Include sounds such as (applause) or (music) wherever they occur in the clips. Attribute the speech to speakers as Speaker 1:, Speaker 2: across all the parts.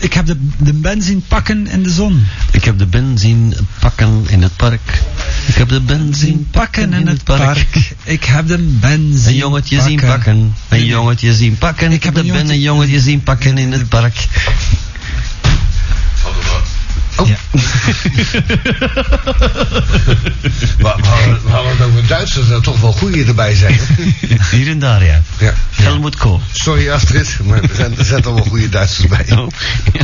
Speaker 1: ik heb de, de ben zien pakken in de zon.
Speaker 2: Ik heb de ben zien pakken in het park. Ik heb de ben zien
Speaker 1: Pakken in het park. Ik heb de ben zien
Speaker 2: Een jongetje zien pakken. Een jongetje zien pakken. Ik heb de ben een jongetje zien pakken in het park.
Speaker 1: Oh. Ja.
Speaker 3: Maar, maar, maar wat ook de Duitsers er toch wel goeie erbij
Speaker 2: (laughs)
Speaker 3: zijn. hè?
Speaker 2: Hier en daar, (laughs) ja.
Speaker 3: Ja.
Speaker 2: Helmut Kool.
Speaker 3: Sorry Astrid, maar er zijn, er zijn toch wel goede Duitsers bij.
Speaker 2: Oh. Ja.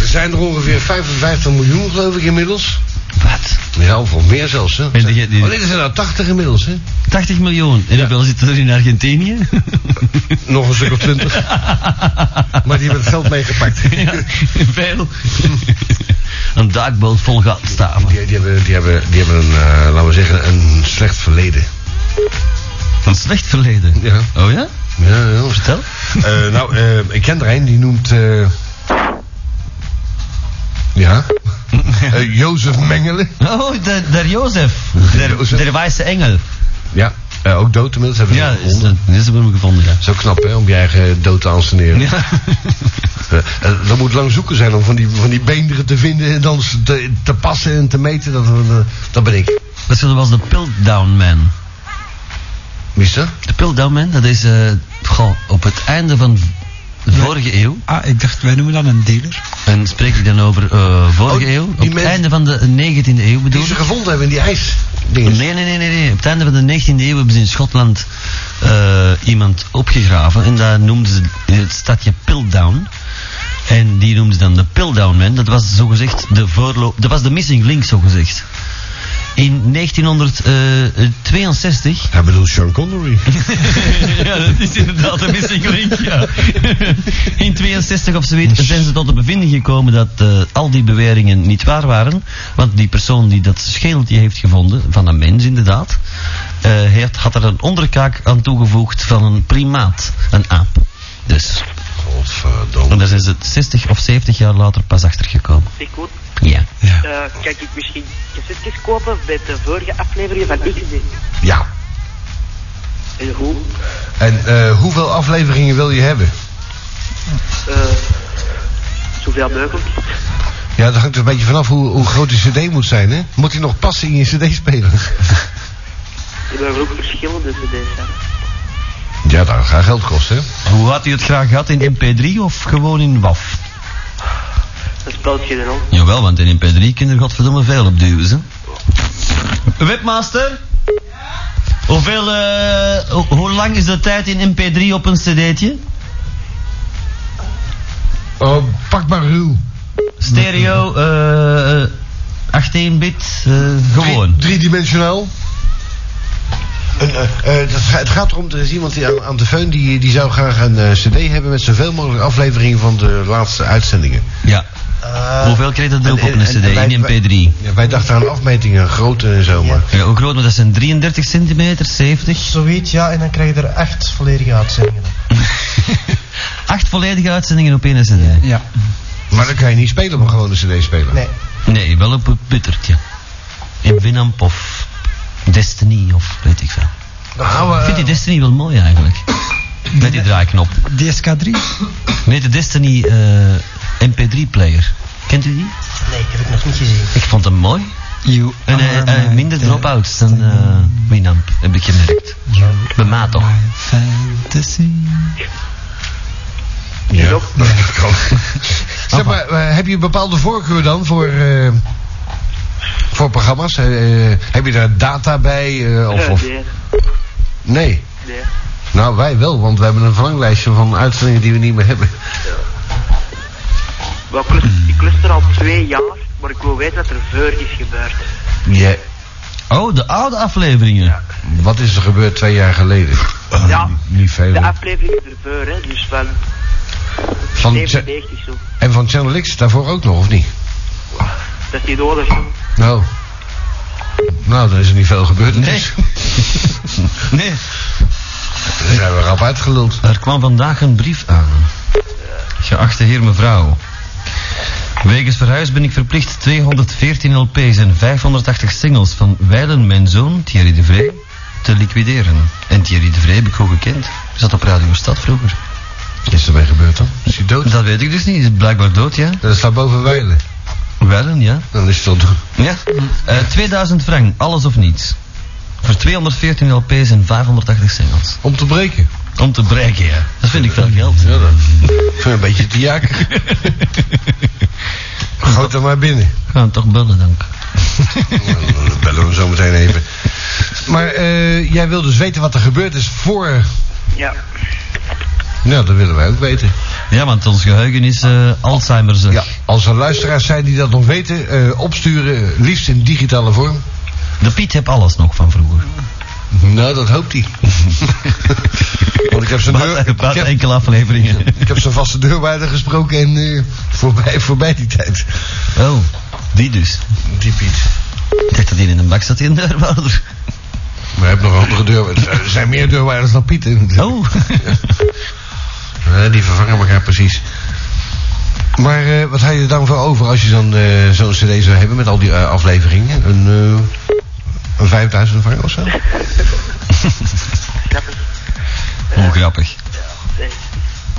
Speaker 3: Er zijn er ongeveer 55 miljoen geloof ik inmiddels.
Speaker 2: Wat?
Speaker 3: Ja, of wel meer zelfs. Hè.
Speaker 2: En die- die-
Speaker 3: Alleen er zijn er 80 inmiddels. Hè.
Speaker 2: 80 miljoen. En hoeveel zitten er in (laughs) Argentinië?
Speaker 3: Nog een stuk of 20.
Speaker 2: (laughs)
Speaker 3: maar die hebben het geld meegepakt.
Speaker 2: ja, veel. (laughs) een duikboot vol goudstaven.
Speaker 3: Die, die hebben, die hebben, die hebben een, eh, laten we zeggen, een slecht verleden.
Speaker 2: Een slecht verleden.
Speaker 3: Ja.
Speaker 2: Oh ja?
Speaker 3: Ja, ja.
Speaker 2: Vertel.
Speaker 3: Eh, nou, eh, ik ken er een, die noemt... eh,
Speaker 2: (laughs)
Speaker 3: ja? Eh, Jozef Mengelen.
Speaker 2: Oh, der, der Jozef. Der,
Speaker 3: Jozef.
Speaker 2: der wijze engel.
Speaker 3: Ja, eh, ook dood inmiddels. Hebben ze
Speaker 2: Ja,
Speaker 3: hem
Speaker 2: is,
Speaker 3: gevonden.
Speaker 2: dat is hebben we hem gevonden, ja.
Speaker 3: Zo knap, hè, om je eigen dood te anseneren.
Speaker 2: Ja.
Speaker 3: (laughs) Eh, dat moet lang zoeken zijn om van die, van die beenderen te vinden en dan ze te, te passen en te meten. Dat, dat, dat ben ik.
Speaker 2: Dat was de Piltdown Man.
Speaker 3: Wie is dat?
Speaker 2: De Piltdown Man, dat is eh, goh, op het einde van de vorige eeuw.
Speaker 1: Ah, ik dacht, wij noemen dat een dealer.
Speaker 2: En spreek ik dan over eh, vorige
Speaker 3: Oh,
Speaker 2: eeuw.
Speaker 3: die
Speaker 2: Op het
Speaker 3: mensen-
Speaker 2: einde van de 19e eeuw bedoel
Speaker 3: Die
Speaker 2: ik.
Speaker 3: ze gevonden hebben in die ijs.
Speaker 2: Nee, nee, nee, nee, nee. Op het einde van de 19e eeuw hebben ze in Schotland eh, iemand opgegraven. En daar noemden ze het stadje Piltdown. En die noemden ze dan de Piltdown Man. Dat was zogezegd de voorloop. Dat was de missing link, zogezegd. In eh, 1962
Speaker 3: Hij bedoelt Sean Connery.
Speaker 2: (laughs) ja, dat is inderdaad een missing link, ja. (laughs) In 62 of zoiets zijn ze tot de bevinding gekomen dat eh, al die beweringen niet waar waren. Want die persoon die dat scheeltje heeft gevonden, van een mens inderdaad, eh, heeft, had er een onderkaak aan toegevoegd van een primaat, een aap. Dus,
Speaker 3: Godverdomme.
Speaker 2: en daar zijn ze 60 of 70 jaar later pas achter gekomen.
Speaker 4: Ik goed.
Speaker 2: Ja.
Speaker 4: Eh, kan ik misschien cassettes kopen bij de vorige aflevering van XD?
Speaker 3: Ja.
Speaker 4: Heel goed.
Speaker 3: En eh, hoeveel afleveringen wil je hebben?
Speaker 4: Eh, zoveel mogelijk.
Speaker 3: Ja, dat hangt er een beetje vanaf hoe, hoe groot die cd moet zijn, hè? Moet hij nog passen in je cd-speler?
Speaker 4: Er mogen ook dus, eh, verschillende cd's zijn.
Speaker 3: Ja, dat gaat geld kosten, hè?
Speaker 2: Hoe had u het graag gehad in MP3 of gewoon in WAF?
Speaker 4: Dat speelt geen rol.
Speaker 2: Jawel, want in MP3 kunnen er godverdomme veel op duwen, ze. Webmaster? Hoeveel, eh, ho- hoe lang is de tijd in MP3 op een cd'tje?
Speaker 3: Oh, pak maar ruw.
Speaker 2: Stereo, eh, eh, 18 bit, eh, gewoon.
Speaker 3: Drie- driedimensionaal. Een, eh, eh, dat ga- het gaat erom, er is iemand die aan, aan de phone die, die zou graag een eh, cd hebben met zoveel mogelijk afleveringen van de laatste uitzendingen.
Speaker 2: Ja.
Speaker 5: Eh,
Speaker 2: Hoeveel kreeg dat ook op een cd in MP3?
Speaker 3: Ja, wij dachten aan afmetingen, grootte en zo, maar...
Speaker 2: Ja, hoe groot, maar dat zijn 33 centimeter, 70.
Speaker 5: Zoiets, ja, en dan krijg je er echt volledige uitzendingen op.
Speaker 2: (laughs) Acht volledige uitzendingen op één cd.
Speaker 1: Ja.
Speaker 3: Maar dan kan je niet spelen op een gewone cd-speler.
Speaker 5: Nee,
Speaker 2: Nee, wel op een puttertje. In Winamp of Destiny of weet ik veel.
Speaker 3: Nou, eh,
Speaker 2: Ik vind die Destiny wel mooi eigenlijk. Met die draaiknop.
Speaker 1: DSK3?
Speaker 2: Nee, de Destiny eh, MP3-player. Kent u die?
Speaker 5: nee, heb ik nog niet gezien. Ah,
Speaker 2: Ik vond hem mooi.
Speaker 1: You
Speaker 2: En eh, eh,
Speaker 1: are my
Speaker 2: minder drop-outs dan eh, Winamp, heb ik gemerkt. Bij mij Ah, toch.
Speaker 1: my fantasy.
Speaker 3: (laughs) Ja, dat kan. zeg maar, eh, heb je een bepaalde voorkeur dan voor, eh, voor programma's? Eh, eh, heb je daar data bij? eh, of,
Speaker 4: Eh,
Speaker 3: of...
Speaker 4: Nee,
Speaker 3: Nee.
Speaker 4: nee.
Speaker 3: Nou, wij wel, want we hebben een verlanglijstje van uitzendingen die we niet meer hebben.
Speaker 4: Wel, ik lust- ik lust er al twee jaar, maar ik wil weten wat er voor is gebeurd.
Speaker 3: Ja.
Speaker 2: Oh, de oude afleveringen.
Speaker 3: Wat is er gebeurd twee jaar geleden?
Speaker 4: Ja.
Speaker 3: Oh, Niet veel.
Speaker 4: De
Speaker 3: hè.
Speaker 4: aflevering ervoor, hè, dus van
Speaker 3: Van Cha-
Speaker 4: 97 zo.
Speaker 3: en van Channel X daarvoor ook nog, of niet?
Speaker 4: Dat is niet nodig.
Speaker 3: Nou. Nou, dan is er niet veel gebeurd. Dus-
Speaker 2: Nee.
Speaker 3: (laughs)
Speaker 2: nee,
Speaker 3: Daar zijn we rap uitgeluld.
Speaker 2: er kwam vandaag een brief aan. Geachte heer mevrouw. Wegens verhuis ben ik verplicht 214 LP's en 580 singles van Weilen, mijn zoon, Thierry de Vree, te liquideren. En Thierry de Vree heb ik goed gekend. Ik zat op Radio Stad vroeger.
Speaker 3: Wat is er mee gebeurd dan? Is hij dood?
Speaker 2: Dat weet ik dus niet. Hij is blijkbaar dood, ja.
Speaker 3: Dat staat boven Weilen.
Speaker 2: Wellen, ja.
Speaker 3: Dan is het wel dood.
Speaker 2: Ja. Eh, 2000 frank, alles of niets. Voor 214 LP's en 580 singles.
Speaker 3: Om te breken.
Speaker 2: Om te breken, ja. Dat vind ik veel geld.
Speaker 3: Ja, dat vind ik een beetje te jakker. (laughs) Goot er maar binnen.
Speaker 2: Gaan we toch bellen, dank.
Speaker 3: Dan bellen we hem zo meteen even. Maar eh, jij wil dus weten wat er gebeurd is voor...
Speaker 4: Ja.
Speaker 3: Nou, dat willen wij ook weten.
Speaker 2: Ja, want ons geheugen is eh Alzheimer, zeg.
Speaker 3: Ja, als er luisteraars zijn die dat nog weten, eh, opsturen, liefst in digitale vorm.
Speaker 2: De Piet heb alles nog van vroeger.
Speaker 3: Nou, dat hoopt hij. (laughs) Want ik heb zijn deur,
Speaker 2: Maar hij
Speaker 3: ik
Speaker 2: praat
Speaker 3: heb,
Speaker 2: enkele (laughs) afleveringen.
Speaker 3: ik heb zijn vaste deurwaarder gesproken en eh, voorbij, voorbij die tijd.
Speaker 2: Oh, die dus.
Speaker 3: Die Piet.
Speaker 2: Ik dacht dat hier in een bak zat, die een deurwaarder.
Speaker 3: Maar je hebt nog een andere deurwaarders. Er zijn meer deurwaarders dan Piet. hè.
Speaker 2: Oh.
Speaker 3: Eh, die vervangen elkaar precies. Maar eh, wat had je er dan voor over als je dan eh, zo'n cd zou hebben met al die eh, afleveringen? Een, eh, een 5000 vervangen of zo?
Speaker 2: Hoe grappig.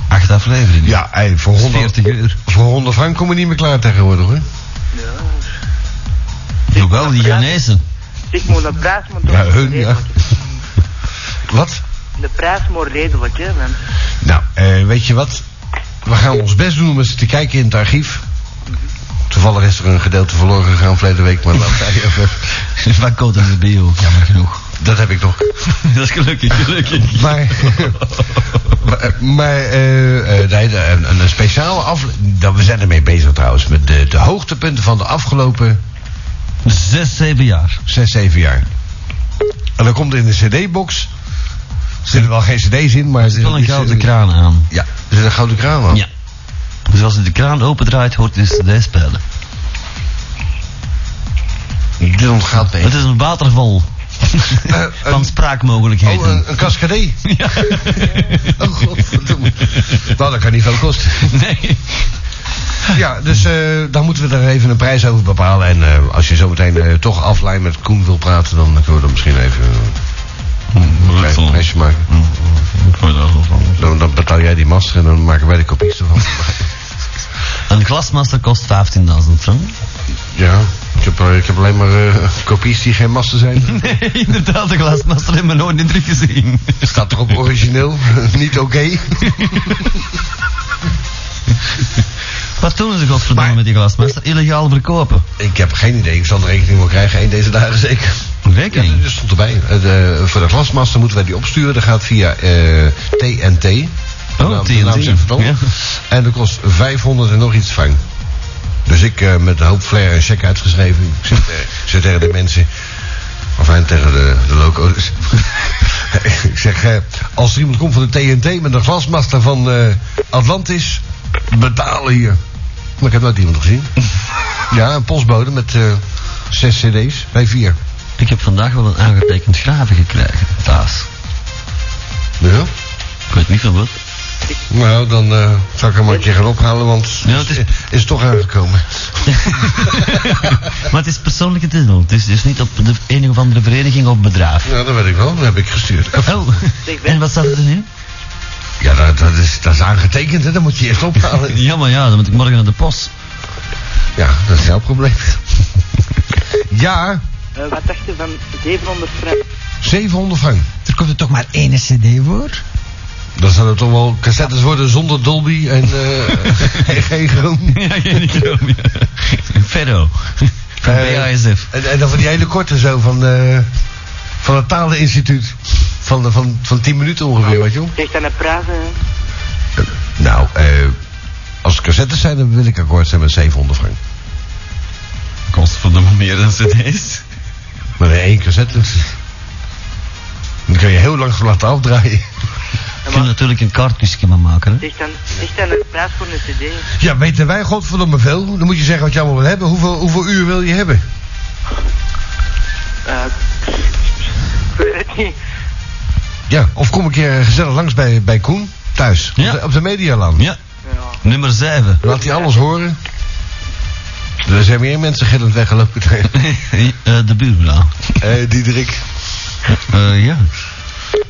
Speaker 2: Acht afleveringen.
Speaker 3: Ja, ey, voor 100,
Speaker 2: 40 uur.
Speaker 3: voor 100 frank kom je niet meer klaar tegenwoordig hoor.
Speaker 2: Jawel, die Ghanese.
Speaker 4: Ik moet de prijs maar toch
Speaker 3: Ja, hun, ja.
Speaker 4: redelijk.
Speaker 3: Wat?
Speaker 4: De prijs moet redelijk, hè. Want
Speaker 3: Nou, eh, weet je wat? We gaan ons best doen om eens te kijken in het archief. Toevallig is er een gedeelte verloren gegaan verleden week, maar (laughs) laat mij even.
Speaker 2: (laughs) Van Code de Bio. Jammer genoeg.
Speaker 3: Dat heb ik nog.
Speaker 2: (laughs) Dat is gelukkig, gelukkig.
Speaker 3: Maar,
Speaker 2: (laughs)
Speaker 3: maar, maar eh, eh, nee, de- een, een speciale aflevering. We zijn ermee bezig trouwens, met de, de hoogtepunten van de afgelopen
Speaker 2: Zes, zeven jaar.
Speaker 3: 6, 7 jaar. En dan komt er in de CD-box. Er zitten wel geen CD's in, maar. Er
Speaker 2: Er is wel een gouden kraan aan.
Speaker 3: Ja, er zit een gouden kraan aan.
Speaker 2: Ja. Dus als je de kraan opendraait, hoort je de cd spelen.
Speaker 3: Dit ontgaat me.
Speaker 2: Het is een waterval
Speaker 3: Eh, een-
Speaker 2: van
Speaker 3: Oh,
Speaker 2: spraakmogelijkheden.
Speaker 3: een, een
Speaker 2: (laughs)
Speaker 3: cascadee. Oh, godverdomme. Nou, dat kan niet veel kosten.
Speaker 2: Nee.
Speaker 3: Ja, dus eh daar moeten we er even een prijs over bepalen. En eh, als je zometeen eh, toch offline met Koen wil praten, dan kunnen we er misschien even
Speaker 2: Mm.
Speaker 3: eh, een klein prijsje maken. Dan, dan betaal jij die master en dan maken wij de
Speaker 2: (laughs)
Speaker 3: kopies ervan.
Speaker 2: Een glasmaster kost 15.000 frank.
Speaker 3: Ja, ik heb, eh, ik heb alleen maar eh, kopies die geen master zijn.
Speaker 2: (laughs) Nee, (laughs) inderdaad, de glasmaster hebben we nooit in druk gezien.
Speaker 3: Staat erop origineel, (laughs) niet oké.
Speaker 2: (laughs) Wat doen ze godverdomme met die glasmaster? Illegaal verkopen.
Speaker 3: Ik heb geen idee, ik zal de rekening wel krijgen, één deze dagen zeker. Ja,
Speaker 2: Rekening.
Speaker 3: dat stond erbij. Eh, de- voor de glasmaster moeten wij die opsturen. Dat gaat via eh, TNT. De naam- de
Speaker 2: TNT.
Speaker 3: naam zegt het al.
Speaker 2: Ja.
Speaker 3: En dat kost 500 en nog iets frank. Dus ik eh, met een hoop flair en check uitgeschreven. Ik zeg, eh, ik zeg tegen de mensen. Of en tegen de, de loco's. (laughs) ik zeg, eh, als er iemand komt van de TNT met een glasmaster van eh, Atlantis, betalen hier. Maar ik heb nooit iemand gezien. ja, een postbode met eh, zes cd's bij vier.
Speaker 2: Ik heb vandaag wel een aangetekend graven gekregen, Taas.
Speaker 3: Ja.
Speaker 2: Ik weet niet van wat.
Speaker 3: Nou, dan eh zal ik hem maar een keer gaan ophalen, want
Speaker 2: Ja, het is-
Speaker 3: is, is toch aangekomen.
Speaker 2: Maar het is persoonlijke titel. Het is dus niet op de een of andere vereniging of bedrijf.
Speaker 3: Ja, dat weet ik wel, dat heb ik gestuurd.
Speaker 2: Oh, en wat staat er nu?
Speaker 3: Ja, dat, dat, is, dat is aangetekend, hè? dat moet je eerst ophalen.
Speaker 2: Ja, maar ja, dan moet ik morgen naar de post.
Speaker 3: Ja, dat is jouw probleem. (laughs) Ja,
Speaker 4: eh, wat dacht je van 700 frank?
Speaker 3: 700 frank.
Speaker 1: Er komt er toch maar één cd voor?
Speaker 3: Dan zal het toch wel cassettes worden zonder Dolby en eh, (laughs) en geen groen.
Speaker 2: (laughs) Ja, geen idee. Ferro. Van
Speaker 3: Eh,
Speaker 2: BASF.
Speaker 3: En, en dan van die hele korte zo van, eh, van het Taleninstituut. Van, de- van, van 10 minuten ongeveer, weet je wel.
Speaker 4: Zeg dan een prijs, hè.
Speaker 3: Eh, Nou, eh, als het cassettes zijn, dan wil ik akkoord zijn met 700 frank.
Speaker 2: Kost van de meer dan cd's.
Speaker 3: Maar in één cassette. Dan kun je heel lang van laten afdraaien.
Speaker 2: Je kunt natuurlijk een kaartkusje maar maken, hè.
Speaker 4: Zeg dan, zeg dan een prijs voor een cd.
Speaker 3: (laughs) Ja, weten wij godverdomme veel. Dan moet je zeggen wat je allemaal wil hebben. Hoeveel, hoeveel uur wil je hebben?
Speaker 4: Eh, (laughs) ik weet het niet.
Speaker 3: Ja, of kom een keer gezellig langs bij, bij Koen, thuis.
Speaker 2: Ja.
Speaker 3: Op de, op de Medialaan.
Speaker 2: Ja,
Speaker 4: Ja.
Speaker 2: nummer 7.
Speaker 3: Laat hij alles horen. Er zijn meer mensen gillend weggelopen. (laughs)
Speaker 2: de buurvrouw.
Speaker 3: Eh Diederik.
Speaker 2: Eh, ja.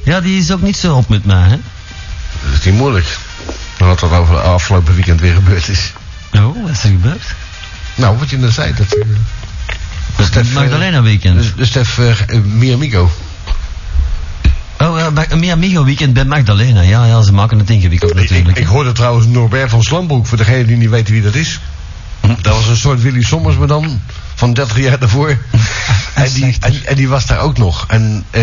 Speaker 2: Ja, die is ook niet zo op met mij, hè.
Speaker 3: Dat is niet moeilijk. Wat er over afgelopen weekend weer gebeurd is.
Speaker 2: Oh, wat is er gebeurd?
Speaker 3: Nou, wat je net zei, dat... eh,
Speaker 2: Dat is
Speaker 3: Stef,
Speaker 2: het
Speaker 3: eh,
Speaker 2: Magdalena weekend.
Speaker 3: Dus, dus Stef, eh, eh, Mi Amigo.
Speaker 2: oh, eh, Ma- Mi Amigo weekend bij Magdalena. Ja, ja, ze maken het ingewikkeld
Speaker 3: Ik,
Speaker 2: natuurlijk.
Speaker 3: ik, ik hoorde trouwens Norbert van Slambroek, voor degenen die niet weten wie dat is. Dat was een soort Willy Sommers, maar dan van 30 jaar daarvoor. En die, en, en die was daar ook nog. En eh,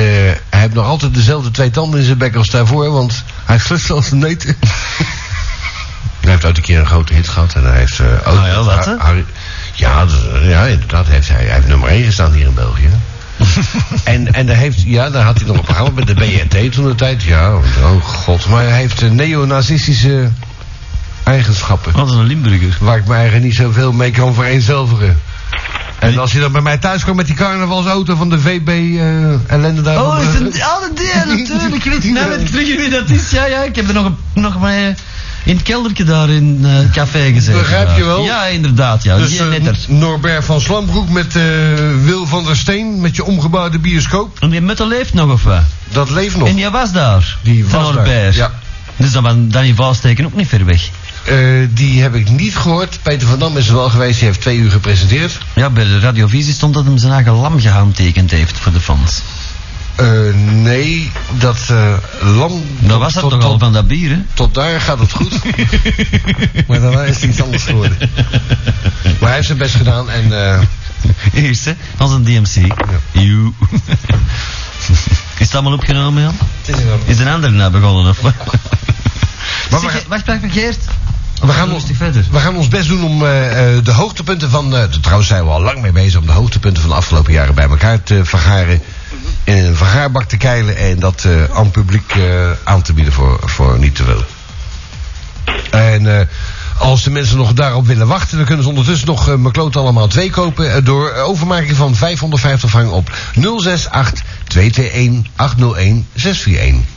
Speaker 3: hij heeft nog altijd dezelfde twee tanden in zijn bek als daarvoor, want hij slust als een neut. Hij heeft ooit een keer een grote hit gehad en hij heeft eh, ook...
Speaker 2: Nou ja, wat, hè?
Speaker 3: Harry- ja, dat- ja, inderdaad, heeft hij, hij heeft nummer 1 gestaan hier in
Speaker 2: (laughs)
Speaker 3: België. en, en daar heeft, ja, daar had hij nog een programma met de BNT toen de tijd. Ja, oh god. Maar hij heeft eh, neonazistische eigenschappen.
Speaker 2: Wat een Limburger.
Speaker 3: Waar ik me eigenlijk niet zoveel mee kan vereenzelvigen. En als hij dan bij mij thuis kwam met die carnavalsauto van de VB eh ellende daar.
Speaker 2: Oh,
Speaker 3: van,
Speaker 2: is
Speaker 3: eh,
Speaker 2: het oh, dat ja, natuurlijk. Ik weet nou weet ik terug wie dat is. Ja, ja, ik heb er nog, een, nog maar eh, in het keldertje daar in eh, het café gezeten.
Speaker 3: Begrijp je
Speaker 2: daar.
Speaker 3: wel?
Speaker 2: Ja, inderdaad. Ja,
Speaker 3: Dus
Speaker 2: Die
Speaker 3: eh,
Speaker 2: netter.
Speaker 3: Norbert van Slambroek met eh, Wil van der Steen, met je omgebouwde bioscoop.
Speaker 2: En die Mutter leeft nog of wat?
Speaker 3: Dat leeft nog.
Speaker 2: En jij was daar?
Speaker 3: Oh. Die
Speaker 2: van
Speaker 3: was daar,
Speaker 2: Norbert.
Speaker 3: ja.
Speaker 2: Dus dan was Danny Valsteken ook niet ver weg.
Speaker 3: Eh, die heb ik niet gehoord. Peter van Dam is er wel geweest, die heeft twee uur gepresenteerd.
Speaker 2: Ja, bij de radiovisie stond dat hem zijn eigen lam gehandtekend heeft voor de fans.
Speaker 3: Eh, nee, dat eh lam.
Speaker 2: Dan was dat
Speaker 3: tot,
Speaker 2: toch al
Speaker 3: tot-
Speaker 2: van dat bier, hè?
Speaker 3: Tot daar gaat het
Speaker 2: (laughs)
Speaker 3: goed. maar daarna is het iets anders geworden. Maar hij heeft zijn best gedaan en. eh,
Speaker 2: Eerst, hè? Van zijn DMC. Joe. Is het allemaal opgenomen, Jan?
Speaker 5: Het is enorm.
Speaker 2: Is een ander nou begonnen, of wat? Zeg,
Speaker 3: Maar we-
Speaker 2: Ge- wacht, wacht, wacht, Geert.
Speaker 3: we, gaan ons,
Speaker 2: rustig verder.
Speaker 3: we gaan ons best doen om eh, eh, de hoogtepunten van. eh, trouwens zijn we al lang mee bezig om de hoogtepunten van de afgelopen jaren bij elkaar te vergaren. In een vergaarbak te keilen en dat eh, aan het publiek eh, aan te bieden voor, voor niet te veel. En eh, als de mensen nog daarop willen wachten, dan kunnen ze ondertussen nog eh McLoot allemaal twee kopen. eh, door overmaking van 550 vang op 068 221 801 641.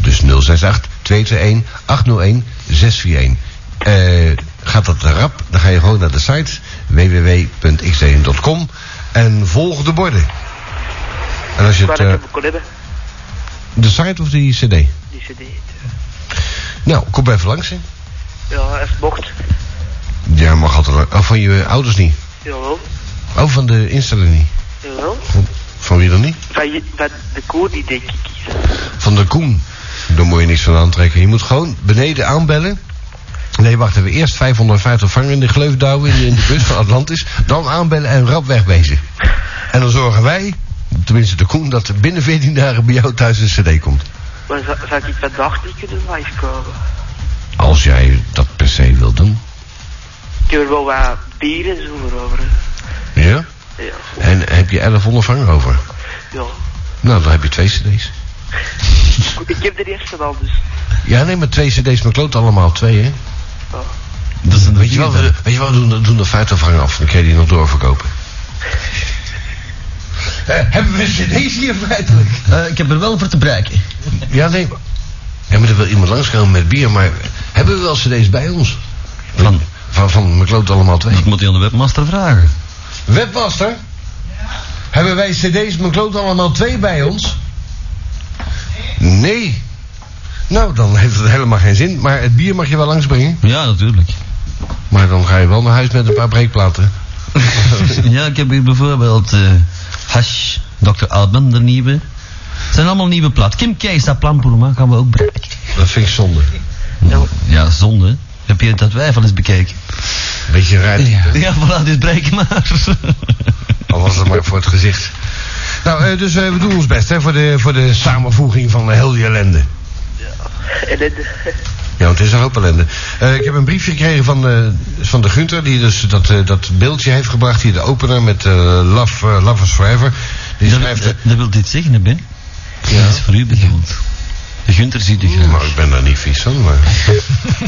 Speaker 3: Dus 068 221 801 641. Eh, gaat dat rap, dan ga je gewoon naar de site www.xdn.com en volg de borden. En als je
Speaker 4: Waar
Speaker 3: het, eh,
Speaker 4: dat ik hem kon hebben,
Speaker 3: de site of die cd?
Speaker 4: die cd.
Speaker 3: Nou, kom even langs. Hè.
Speaker 4: Ja, als het mocht.
Speaker 3: Ja, mag altijd. lang- Oh, van je ouders niet.
Speaker 4: Jawel,
Speaker 3: Oh, van de instelling niet.
Speaker 4: jawel.
Speaker 3: Van wie dan niet?
Speaker 4: Van, je- van de koer die denk ik is.
Speaker 3: Van de Koen. Daar moet je niks van aantrekken. Je moet gewoon beneden aanbellen. Nee, wacht even. Eerst 550 vangen in de gleuf douwen in de, in de bus van Atlantis. Dan aanbellen en rap wegwezen. En dan zorgen wij, tenminste de Koen, dat er binnen 14 dagen bij jou thuis een cd komt.
Speaker 4: Maar zou, zou ik vandaag niet kunnen live komen?
Speaker 3: Als jij dat per se wilt doen.
Speaker 4: Ik heb er wel wat bier en zo voor over. hè.
Speaker 3: Ja?
Speaker 4: Ja,
Speaker 3: En heb je 1100 vangen over?
Speaker 4: ja.
Speaker 3: Nou, dan heb je twee cd's.
Speaker 4: Goed, ik heb de eerste al, dus.
Speaker 3: Ja, nee, maar twee cd's met kloot allemaal. Twee, hè?
Speaker 4: Ja.
Speaker 2: Dat is een
Speaker 3: Weet je wat, we, weet je wat we doen? We doen de fruitafhanger af. Dan kun je die nog doorverkopen. hebben we cd's hier feitelijk?
Speaker 2: ik heb er wel voor te bereiken.
Speaker 3: Ja, nee. maar- Ja, maar er wil iemand langskomen met bier. Maar hebben we wel cd's bij ons?
Speaker 2: Van,
Speaker 3: Van, van McLeod allemaal twee.
Speaker 2: ik moet die aan de webmaster vragen.
Speaker 3: Webmaster? Hebben wij cd's McLeod allemaal twee bij ons? Nee. Nou, dan heeft het helemaal geen zin. Maar het bier mag je wel langsbrengen.
Speaker 2: Ja, natuurlijk.
Speaker 3: Maar dan ga je wel naar huis met een paar breekplaten.
Speaker 2: (laughs) ja, ik heb hier bijvoorbeeld eh Hash, Dr. Alban, de nieuwe. Het zijn allemaal nieuwe plaat. Kim K. staat plan voor me, gaan we ook bereiken.
Speaker 3: Dat vind ik zonde.
Speaker 2: Ja, zonde. Heb je dat wij van eens bekeken?
Speaker 3: Beetje raar.
Speaker 2: Ja, voilà, dus breek (laughs) maar.
Speaker 3: Al was het maar voor het gezicht. Nou, eh, dus eh, we doen ons best hè, voor, de, voor de samenvoeging van eh, heel die ellende.
Speaker 4: En dan, (laughs)
Speaker 3: Ja, want het is een hoop ellende. Eh, ik heb een briefje gekregen van, eh, van de Gunter, die dus dat, eh, dat beeldje heeft gebracht. Hier de opener met eh, Love, eh, Lovers Forever. Die
Speaker 2: dat,
Speaker 3: schrijft... eh,
Speaker 2: dat, dat wil dit zeggen, hè, Ben? Dat is voor u bedoeld. De Gunter ziet u graag.
Speaker 3: nou, ik ben daar niet vies van, maar...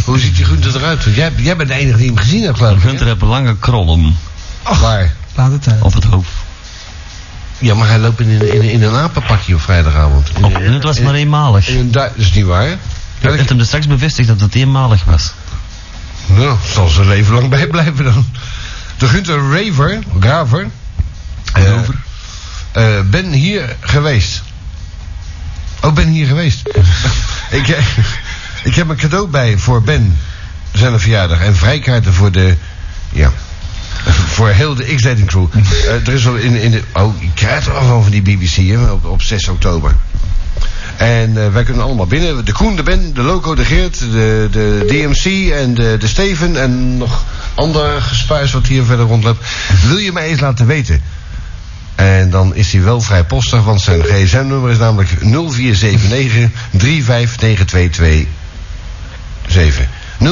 Speaker 3: Hoe ziet die Gunter eruit? Want Jij, jij bent de enige die hem gezien hebt, geloof ik. hè?
Speaker 2: Gunter heeft lange krollen
Speaker 3: Waar?
Speaker 1: Laat het uit.
Speaker 2: op het hoofd.
Speaker 3: Ja, maar hij loopt in, in, in, een apenpakje op vrijdagavond. In,
Speaker 2: Op, het was maar eenmalig.
Speaker 3: in een du- dat is niet waar, hè? Ja,
Speaker 2: Ik
Speaker 3: dat-
Speaker 2: heb hem er straks bevestigd dat het eenmalig was.
Speaker 3: Nou, zal ze leven lang bij blijven dan. De Gunther Raver, Graver. eh, eh, ben hier geweest. Oh, ben hier geweest. ik, eh, Ik heb een cadeau bij voor Ben. Zijn verjaardag. En vrijkaarten voor de... Ja. Voor heel de X-Dating Crew. Eh, er is al in, in de... Oh, je krijgt er al van van die BBC hè, op, op 6 oktober. En eh, wij kunnen allemaal binnen. De Koen, de Ben, de Loco, de Geert, de, de DMC en de, de Steven. En nog ander gespuis wat hier verder rondloopt. Wil je mij eens laten weten? En dan is hij wel vrij postig, want zijn gsm-nummer is namelijk 0479 35922 7. 0479359227.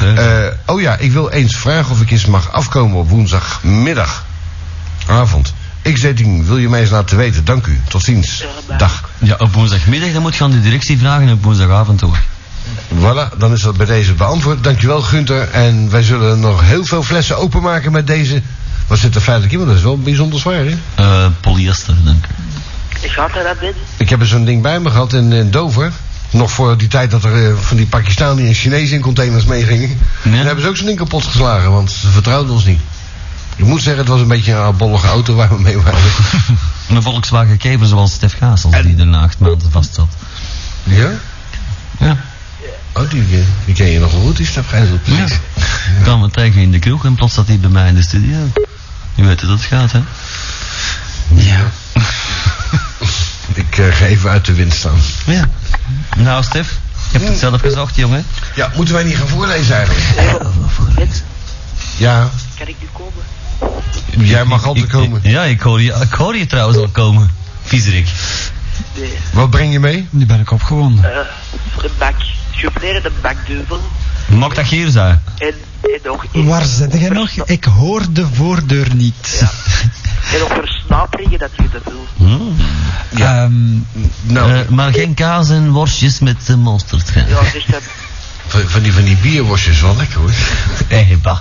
Speaker 2: Ja.
Speaker 3: Eh, oh ja, ik wil eens vragen of ik eens mag afkomen op woensdagmiddag. Avond. X-dating, wil je mij eens laten weten? Dank u. Tot ziens. Dag.
Speaker 2: Ja, op woensdagmiddag dan moet je aan de directie vragen en op woensdagavond hoor.
Speaker 3: Voilà, dan is dat bij deze beantwoord. Dankjewel, Gunther. En wij zullen nog heel veel flessen openmaken met deze. Wat zit er feitelijk in? Want dat is wel bijzonder zwaar, hè?
Speaker 2: Eh, polyester, denk ik.
Speaker 4: Gaat hij dat dit?
Speaker 3: Ik heb er zo'n ding bij me gehad in, in Dover. Nog voor die tijd dat er eh, van die Pakistani en Chinezen in containers meegingen.
Speaker 2: Ja.
Speaker 3: Daar hebben ze ook zo'n ding kapot geslagen, want ze vertrouwden ons niet. Ik moet zeggen, het was een beetje een abollige auto waar we mee waren.
Speaker 2: Een Volkswagen Kever zoals Stef Gaasels, die daarna acht maanden vast zat.
Speaker 3: ja?
Speaker 2: Ja.
Speaker 3: Oh, die, eh, die ken je nog wel goed, die stap precies.
Speaker 2: Ik kwam hem tegen in de kroeg en plots zat hij bij mij in de studio. Je weet hoe dat gaat, hè?
Speaker 3: Ja. (laughs) Ik eh, ga even uit de wind staan.
Speaker 2: Ja. Nou, Stef, je hebt het zelf gezocht, jongen.
Speaker 3: Ja, moeten wij niet gaan voorlezen eigenlijk?
Speaker 4: Dit?
Speaker 3: Ja,
Speaker 4: Kan ik nu komen?
Speaker 3: jij mag altijd
Speaker 2: Ik-
Speaker 3: komen.
Speaker 2: Ja, ik hoor, je, ik hoor je trouwens al komen. Viezerik.
Speaker 4: Nee.
Speaker 3: Wat breng je mee?
Speaker 1: Nu ben ik opgewonden.
Speaker 4: Eh, voor de bak. Chaufferen de bakduvel.
Speaker 2: Mag dat hier zijn?
Speaker 4: En, en nog iets.
Speaker 1: Waar zit jij nog? Ik hoor de voordeur niet. (laughs)
Speaker 4: En nog versnaperingen dat je dat wil.
Speaker 1: Ehm,
Speaker 3: Nou,
Speaker 2: Hm? Eh, maar geen kaas en worstjes met uh, mosterd. hè.
Speaker 4: Ja, dus dat...
Speaker 3: van, van die, van die bierworstjes wel lekker hoor.
Speaker 2: Hey, Eh, bah.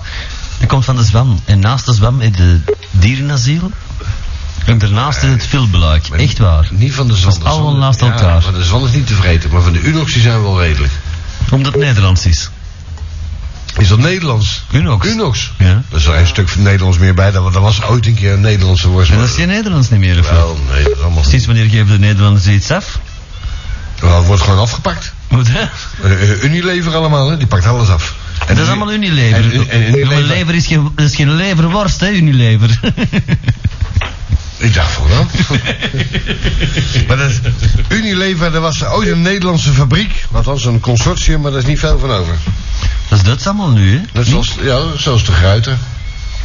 Speaker 2: Dat komt van de zwam. En naast de zwam is de dierenasiel. En daarnaast is het filbeluik. Echt waar.
Speaker 3: Niet van de zon.
Speaker 2: Dat is allemaal naast elkaar.
Speaker 3: Van de zon is niet te vreten, maar van de Unox die zijn wel redelijk.
Speaker 2: Omdat het Nederlands is.
Speaker 3: Is dat Nederlands?
Speaker 2: Unox.
Speaker 3: Unox.
Speaker 2: Ja.
Speaker 3: Er is er een stuk van Nederlands meer bij, want er was ooit een keer een Nederlandse worst.
Speaker 2: En
Speaker 3: maar-
Speaker 2: dat is geen Nederlands niet meer, of wel?
Speaker 3: Wel, nee, dat is allemaal
Speaker 2: Sinds wanneer geven de Nederlanders iets af?
Speaker 3: Wel, het wordt gewoon afgepakt.
Speaker 2: Moet hè?
Speaker 3: Eh, eh, Unilever allemaal, hè? die pakt alles af.
Speaker 2: (laughs)
Speaker 3: En
Speaker 2: dat is allemaal Unilever.
Speaker 3: En- en- en Unilever-
Speaker 2: Jongen, lever is geen, is geen leverworst, hè, Unilever. (laughs)
Speaker 3: Ik dacht van wel. (laughs) maar dat, Unilever, er was ooit een Nederlandse fabriek. Wat was een consortium, maar daar is niet veel van over.
Speaker 2: dat is Duits allemaal nu, hè?
Speaker 3: Net zoals, ja, zoals de Gruiter.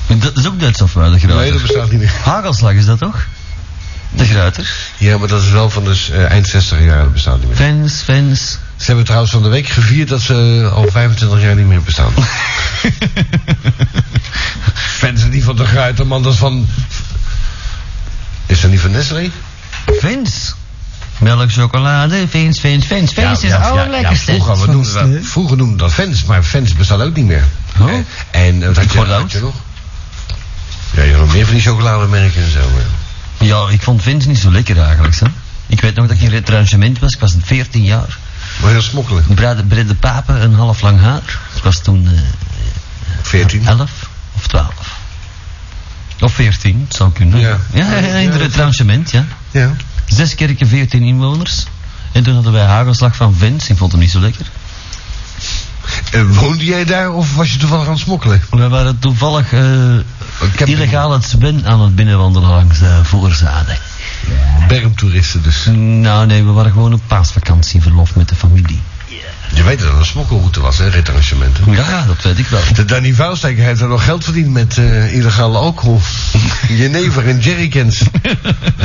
Speaker 2: Dat is ook Duits of wel, de
Speaker 3: Nee, Nou, dat
Speaker 2: gruiter?
Speaker 3: bestaat niet meer.
Speaker 2: Hagelslag is dat toch? De gruiter.
Speaker 3: (laughs) Ja, maar dat is wel van de s- eh, eind 60 jaar, dat bestaat niet meer.
Speaker 2: Fans, fans.
Speaker 3: Ze hebben trouwens van de week gevierd dat ze eh, al 25 jaar niet meer bestaan. (laughs) Fans niet van de Gruiterman, dat is van... Is dat niet van Nestlé?
Speaker 2: Fans. Melk, chocolade, fans, fans, fans. Fans is het allerlekkerste.
Speaker 3: vroeger, we noemden
Speaker 1: Fans,
Speaker 3: dat,
Speaker 1: nee.
Speaker 3: vroeger noemden dat fans, maar fans bestaat ook niet meer.
Speaker 2: Oh.
Speaker 3: Eh, En eh, wat had je,
Speaker 2: Voor de
Speaker 3: had je nog? Ja, je had nog meer van die chocolademerken en zo. eh. ja.
Speaker 2: ja, ik vond fans niet zo lekker eigenlijk, hè. Ik weet nog dat ik in retrangement was, ik was 14 jaar.
Speaker 3: Maar heel smokkelen.
Speaker 2: Brede, brede papen, een half lang haar. Ik was toen eh,
Speaker 3: 14.
Speaker 2: 11 of 12. Of 14, het zou kunnen.
Speaker 3: Ja.
Speaker 2: ja, ja, in het retrangement, ja.
Speaker 3: Ja.
Speaker 2: Zes kerken, 14 inwoners. En toen hadden wij hagelslag van Vins. Ik vond hem niet zo lekker.
Speaker 3: Eh, woonde jij daar of was je toevallig aan het smokkelen?
Speaker 2: We waren toevallig eh,
Speaker 3: Oh, Ik heb-
Speaker 2: illegaal het Sven aan het binnenwandelen langs de voorzade.
Speaker 3: Bermtoeristen dus.
Speaker 2: Nou nee, we waren gewoon op paasvakantieverlof met de familie.
Speaker 3: Je weet dat het een smokkelroute was, hè, retrangementen.
Speaker 2: Ja, ja, dat weet ik wel.
Speaker 3: De Danny Vuilsteker heeft er nog geld verdiend met eh, illegale alcohol. (laughs) Jenever en jerrycans.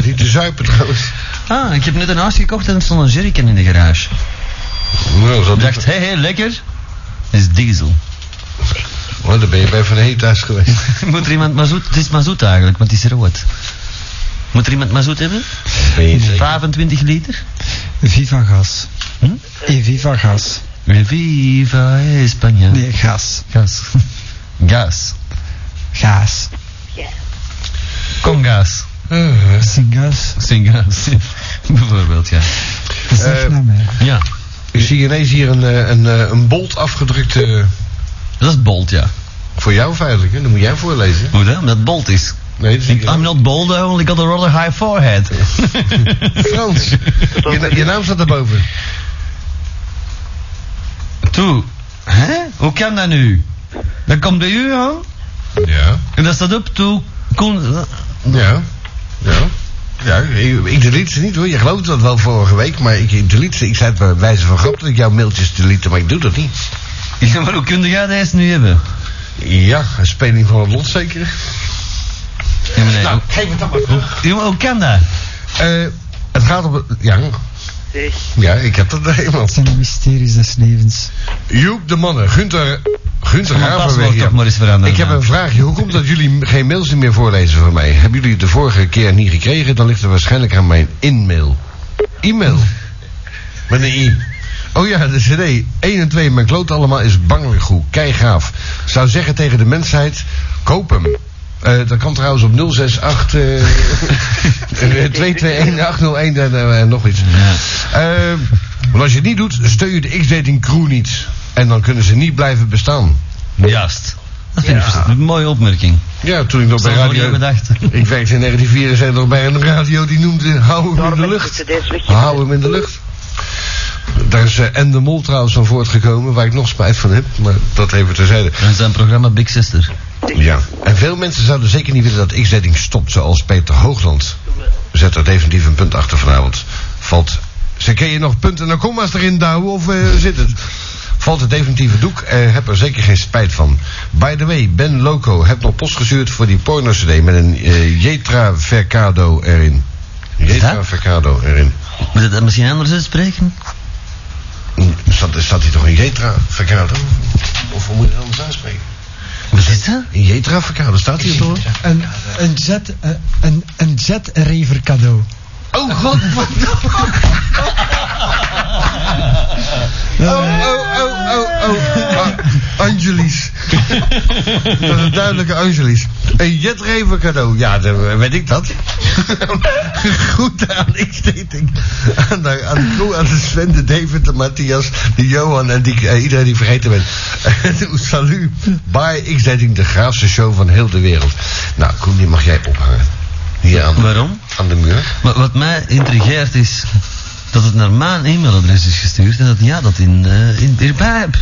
Speaker 3: Niet te zuipen trouwens.
Speaker 2: Ah, ik heb net een huis gekocht en er stond een jerrycan in de garage.
Speaker 3: Nou, zo
Speaker 2: Ik dacht, hé, hé, lekker. Dat is diesel.
Speaker 3: Oh, dan ben je bij Van Heet thuis geweest.
Speaker 2: (laughs) Moet er iemand mazoet? Het is mazoet eigenlijk, want het is rood. Moet er iemand mazoet hebben?
Speaker 3: Ben je zeker?
Speaker 2: 25 liter?
Speaker 1: Viva gas.
Speaker 2: Hm?
Speaker 1: Eh, Viva gas.
Speaker 2: Viva España.
Speaker 1: Nee, gas.
Speaker 2: Gas. (laughs) Gas.
Speaker 1: Gaas.
Speaker 2: Con gas. (laughs)
Speaker 1: Singas.
Speaker 2: Sin gas. (laughs) Bijvoorbeeld, ja.
Speaker 1: Zeg
Speaker 3: Eh,
Speaker 1: naar mij.
Speaker 2: Ja,
Speaker 3: Ik zie ineens hier een, eh, een, eh, een bolt afgedrukt. eh,
Speaker 2: dat is bold, ja.
Speaker 3: voor jou feitelijk, hè? Dat moet jij voorlezen.
Speaker 2: Hoe dan? Omdat het bold is.
Speaker 3: Nee, dat is niet
Speaker 2: I'm not bold, I only got a rather high forehead.
Speaker 3: Frans. (laughs) Je, na- je naam staat daarboven.
Speaker 2: Toe. Hè? Hoe kan dat nu? Dat komt bij u aan.
Speaker 3: Ja.
Speaker 2: En dat staat op toe. Kon...
Speaker 3: Ja. Ja. Ja, ik, ik delete ze niet hoor. Je gelooft dat wel vorige week, maar ik delete ze. Ik zei het bij wijze van grap dat ik jouw mailtjes delete, maar ik doe dat niet.
Speaker 2: (laughs) Ja, maar hoe kun jij deze nu hebben?
Speaker 3: Ja, een speling van het lot zeker.
Speaker 2: Ja, maar nee.
Speaker 3: Nou, geef het dan maar terug.
Speaker 2: Ja, maar hoe kan dat?
Speaker 3: Eh, het gaat om... Ja,
Speaker 4: Zeg,
Speaker 3: ja, ik heb dat (laughs) helemaal.
Speaker 1: zijn de mysteries des levens.
Speaker 3: Joep de Mannen, Gunther, Gunther
Speaker 2: Kom mijn
Speaker 3: Ravenweg.
Speaker 2: paswoord
Speaker 3: ja.
Speaker 2: toch maar eens veranderen. nou.
Speaker 3: Ik heb
Speaker 2: ja.
Speaker 3: een vraagje. Hoe komt dat jullie geen mails meer voorlezen van mij? Hebben jullie het de vorige keer niet gekregen? Dan ligt het waarschijnlijk aan mijn in-mail. E-mail. Met een i. Oh ja, de cd. 1 en 2, mijn kloot allemaal, is bangelijk goed. Keigaaf. Zou zeggen tegen de mensheid, koop hem. Eh, dat kan trouwens op 068 eh, (laughs) eh, 221 801 en eh, nog iets. Eh, want als je het niet doet, steun je de X-Dating crew niet. En dan kunnen ze niet blijven bestaan.
Speaker 2: Juist. Dat vind ik een mooie opmerking.
Speaker 3: Ja, toen ik nog bij
Speaker 2: Dat had ik
Speaker 3: radio...
Speaker 2: niet bedacht.
Speaker 3: Ik werkte in 1974 bij een radio die noemde Hou hem in de
Speaker 4: Norman,
Speaker 3: lucht.
Speaker 4: de cd's weg.
Speaker 3: Hou hem in de lucht. Daar is eh, En de Mol trouwens van voortgekomen, waar ik nog spijt van heb, maar dat even terzijde.
Speaker 2: Dat is een programma Big Sister.
Speaker 3: Ja. En veel mensen zouden zeker niet willen dat X-Dating stopt, zoals Peter Hoogland. Zet er definitief een punt achter vanavond. Valt. Ze kun je nog punten en komma's erin duwen of eh, zit het? Valt het definitieve doek, eh, heb er zeker geen spijt van. By the way, Ben Loco, heb nog post gestuurd voor die porno-cd met een eh, Jetra Vercado erin. Jetra
Speaker 2: dat?
Speaker 3: Vercado erin.
Speaker 2: Moet je dat misschien anders uitspreken?
Speaker 3: Mm, Staat, staat hier toch een Jetra Vercado? Of hoe moet je het anders aanspreken?
Speaker 2: Wat is dat?
Speaker 3: Een Jetra Vercado, staat hier toch?
Speaker 1: Een, een, jet, eh, een, een jet-raver cadeau. Eh,
Speaker 3: Oh god, Oh, oh, oh, oh, oh. Ah, Angelis. Dat is een duidelijke Angelis. Een Jet Raver cadeau. Ja, dan weet ik dat. (laughs) Goed aan X-Dating. Aan de, aan de crew, aan de Sven, de David, de Matthias, de Johan en die, eh, iedereen die vergeten bent. (laughs) Salut. Bye X-Dating, de graafste show van heel de wereld. Nou, Koen, die mag jij ophangen. Hier aan de,
Speaker 2: Waarom?
Speaker 3: aan de muur.
Speaker 2: Wa- wat mij intrigeert is dat het naar mijn e-mailadres is gestuurd en dat ja dat in, eh in erbij heb.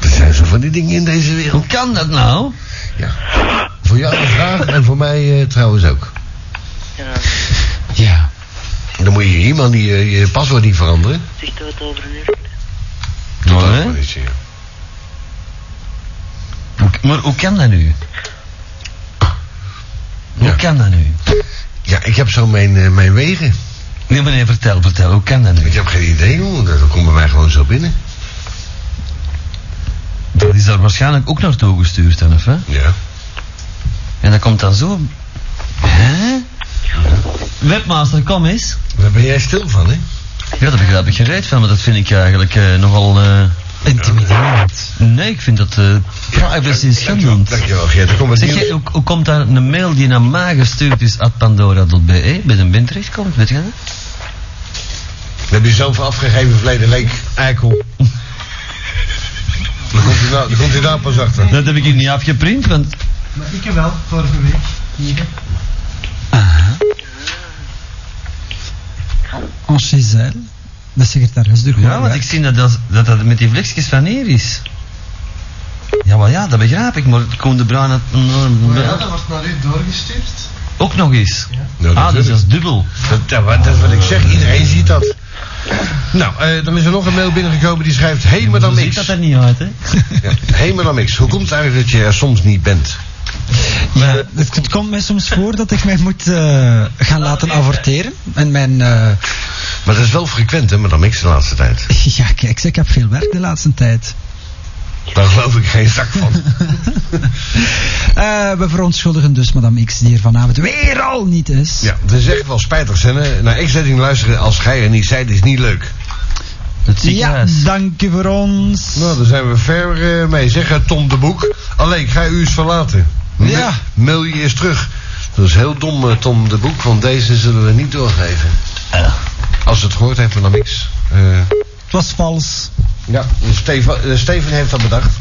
Speaker 3: Er zijn zo van die dingen in deze wereld.
Speaker 2: Hoe kan dat nou?
Speaker 3: Ja. Voor jou een vraag en voor mij eh, trouwens ook.
Speaker 4: Ja,
Speaker 2: Ja.
Speaker 3: Dan moet je je e-mail niet, eh, je paswoord niet veranderen.
Speaker 4: zegt dat het over een uur.
Speaker 2: Doe dat
Speaker 3: ook
Speaker 2: Oh, hè?
Speaker 3: maar eens, ja.
Speaker 2: Maar hoe kan dat nu? Hoe
Speaker 3: Ja.
Speaker 2: kan dat nu?
Speaker 3: Ja, ik heb zo mijn, eh, mijn wegen.
Speaker 2: Nee meneer, vertel, vertel, hoe kan dat nu?
Speaker 3: Ik heb geen idee hoe, dat komt bij mij gewoon zo binnen.
Speaker 2: Dat is daar waarschijnlijk ook naartoe gestuurd dan, of hè?
Speaker 3: Ja.
Speaker 2: En dat komt dan zo... Hè? Webmaster, kom eens.
Speaker 3: Daar ben jij stil van, hè?
Speaker 2: Ja, daar begrijp ik geen reet van, maar dat vind ik eigenlijk eh, nogal... eh,
Speaker 1: Intimiderend.
Speaker 2: nee, ik vind dat eh privacy is
Speaker 3: Dankjewel,
Speaker 2: schendend.
Speaker 3: dankjewel Geert. Er komt wat
Speaker 2: Zeg
Speaker 3: nieuws.
Speaker 2: je, hoe, hoe komt daar een mail die naar mij gestuurd is at pandora.be bij een bin terechtkomt, weet je dat?
Speaker 3: Dat heb je zelf afgegeven verleden leek. Eikel. Dan komt hij daar- dan komt hij daar pas achter.
Speaker 2: Dat heb ik hier niet afgeprint, want...
Speaker 5: Maar ik heb wel, vorige week. Hier.
Speaker 2: Ah.
Speaker 1: En Giselle, de secretaris, doe gewoon.
Speaker 2: Ja, want ik zie dat dat, dat, dat met die vlekjes van hier is. Ja, maar ja, dat begrijp ik, maar Koen de Bruin had...
Speaker 5: wordt naar u doorgestuurd.
Speaker 2: Ook nog eens.
Speaker 3: Nou,
Speaker 2: ah, dus dat is dubbel.
Speaker 3: Dat, dat, wat- dat is wat ik zeg, iedereen ziet dat. Nou, eh, dan is er nog een mail binnengekomen die schrijft: Hey, maar dan
Speaker 2: Zo ziet
Speaker 3: niks.
Speaker 2: dat er niet uit, hè?
Speaker 3: Ja. Hey, maar dan niks. Hoe komt het eigenlijk dat je er soms niet bent?
Speaker 1: Ja, het, het komt mij soms voor dat ik mij moet eh, gaan laten avorteren. En mijn... eh,
Speaker 3: Maar dat is wel frequent, hè, maar dan niks de laatste tijd.
Speaker 1: (laughs) ja, kijk, ik heb veel werk de laatste tijd.
Speaker 3: Daar geloof ik geen zak van.
Speaker 1: Eh, we verontschuldigen dus madame X, die hier vanavond weer al niet is.
Speaker 3: Ja, dat is echt wel spijtig, hè? hè? Naar X-Dating luisteren als gij er niet zijt, is niet leuk.
Speaker 2: Het
Speaker 1: Ja,
Speaker 2: ziekenhuis.
Speaker 1: dank u voor ons.
Speaker 3: Nou, daar zijn we ver eh, mee. Zeg eh, Tom de Boek. Alleen, ik ga u eens verlaten. Ma-
Speaker 1: Ja.
Speaker 3: Mail je eens terug. Dat is heel dom, eh, Tom de Boek, want deze zullen we niet doorgeven. Als het gehoord heeft, maar dan niks. Eh,
Speaker 1: Het was vals.
Speaker 3: ja, Steven, eh, Steven heeft dat bedacht.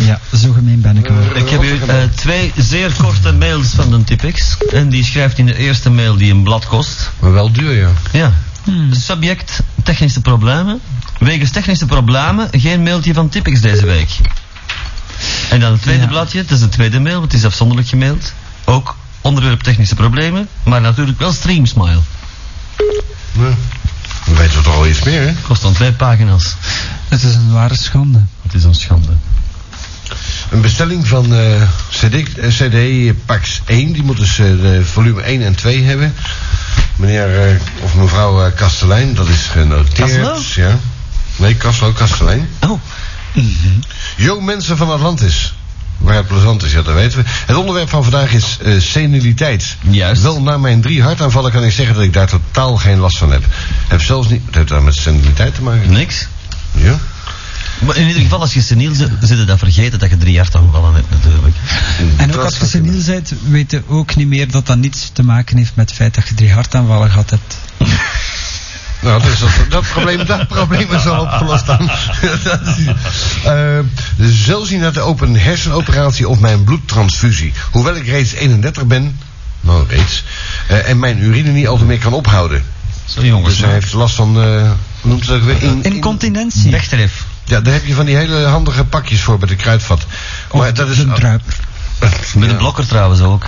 Speaker 1: Ja, zo gemeen ben ik wel.
Speaker 2: Ik heb u eh, twee zeer korte mails van de Tipex. En die schrijft in de eerste mail die een blad kost.
Speaker 3: Maar wel duur, ja.
Speaker 2: Ja.
Speaker 1: Hmm.
Speaker 2: Subject technische problemen. Wegens technische problemen geen mailtje van Tipex deze week. En dan het tweede
Speaker 1: Ja.
Speaker 2: bladje, het is de tweede mail, want het is afzonderlijk gemaild. Ook onderwerp technische problemen, maar natuurlijk wel streamsmile.
Speaker 3: Ja. Dan weten we toch al iets meer, hè?
Speaker 2: Kost dan twee pagina's.
Speaker 1: Het is een ware schande.
Speaker 2: Het is een schande.
Speaker 3: Een bestelling van eh, CD, eh, CD Pax 1. Die moet dus eh, de volume 1 en 2 hebben. Meneer eh, of mevrouw eh, Kastelein, dat is genoteerd.
Speaker 2: Kastelo?
Speaker 3: Ja. Nee, Kastelo, Kastelein.
Speaker 2: Oh,
Speaker 3: Yo mensen van Atlantis. Waar het plezant is, ja, dat weten we. Het onderwerp van vandaag is eh, seniliteit.
Speaker 2: Juist.
Speaker 3: Wel, na mijn drie hartaanvallen kan ik zeggen dat ik daar totaal geen last van heb. Heb zelfs niet... Het heeft daar met seniliteit te maken.
Speaker 2: niks.
Speaker 3: Ja.
Speaker 2: Maar in ieder geval, als je seniel zit, zit je dat vergeten dat je drie hartaanvallen hebt natuurlijk.
Speaker 1: En
Speaker 3: Dat
Speaker 1: ook als je
Speaker 3: zou
Speaker 1: seniel bent, weet je ook niet meer dat dat niets te maken heeft met het feit dat je drie hartaanvallen gehad hebt.
Speaker 3: Nou, dus dat, dat, probleem, dat probleem is al opgelost dan. dat is, Eh, zelfs niet naar de open hersenoperatie of mijn bloedtransfusie. Hoewel ik reeds 31 ben, nou reeds, eh, en mijn urine niet altijd meer kan ophouden.
Speaker 2: Zo jongens.
Speaker 3: Dus hij heeft last van, eh, hoe noemt het ook weer? In- in-
Speaker 1: Incontinentie.
Speaker 2: Wegtref.
Speaker 3: ja, daar heb je van die hele handige pakjes voor bij de kruidvat. Maar dat is,
Speaker 1: Oh, een druip.
Speaker 2: Met
Speaker 3: (laughs) Ja.
Speaker 2: een blokker trouwens ook.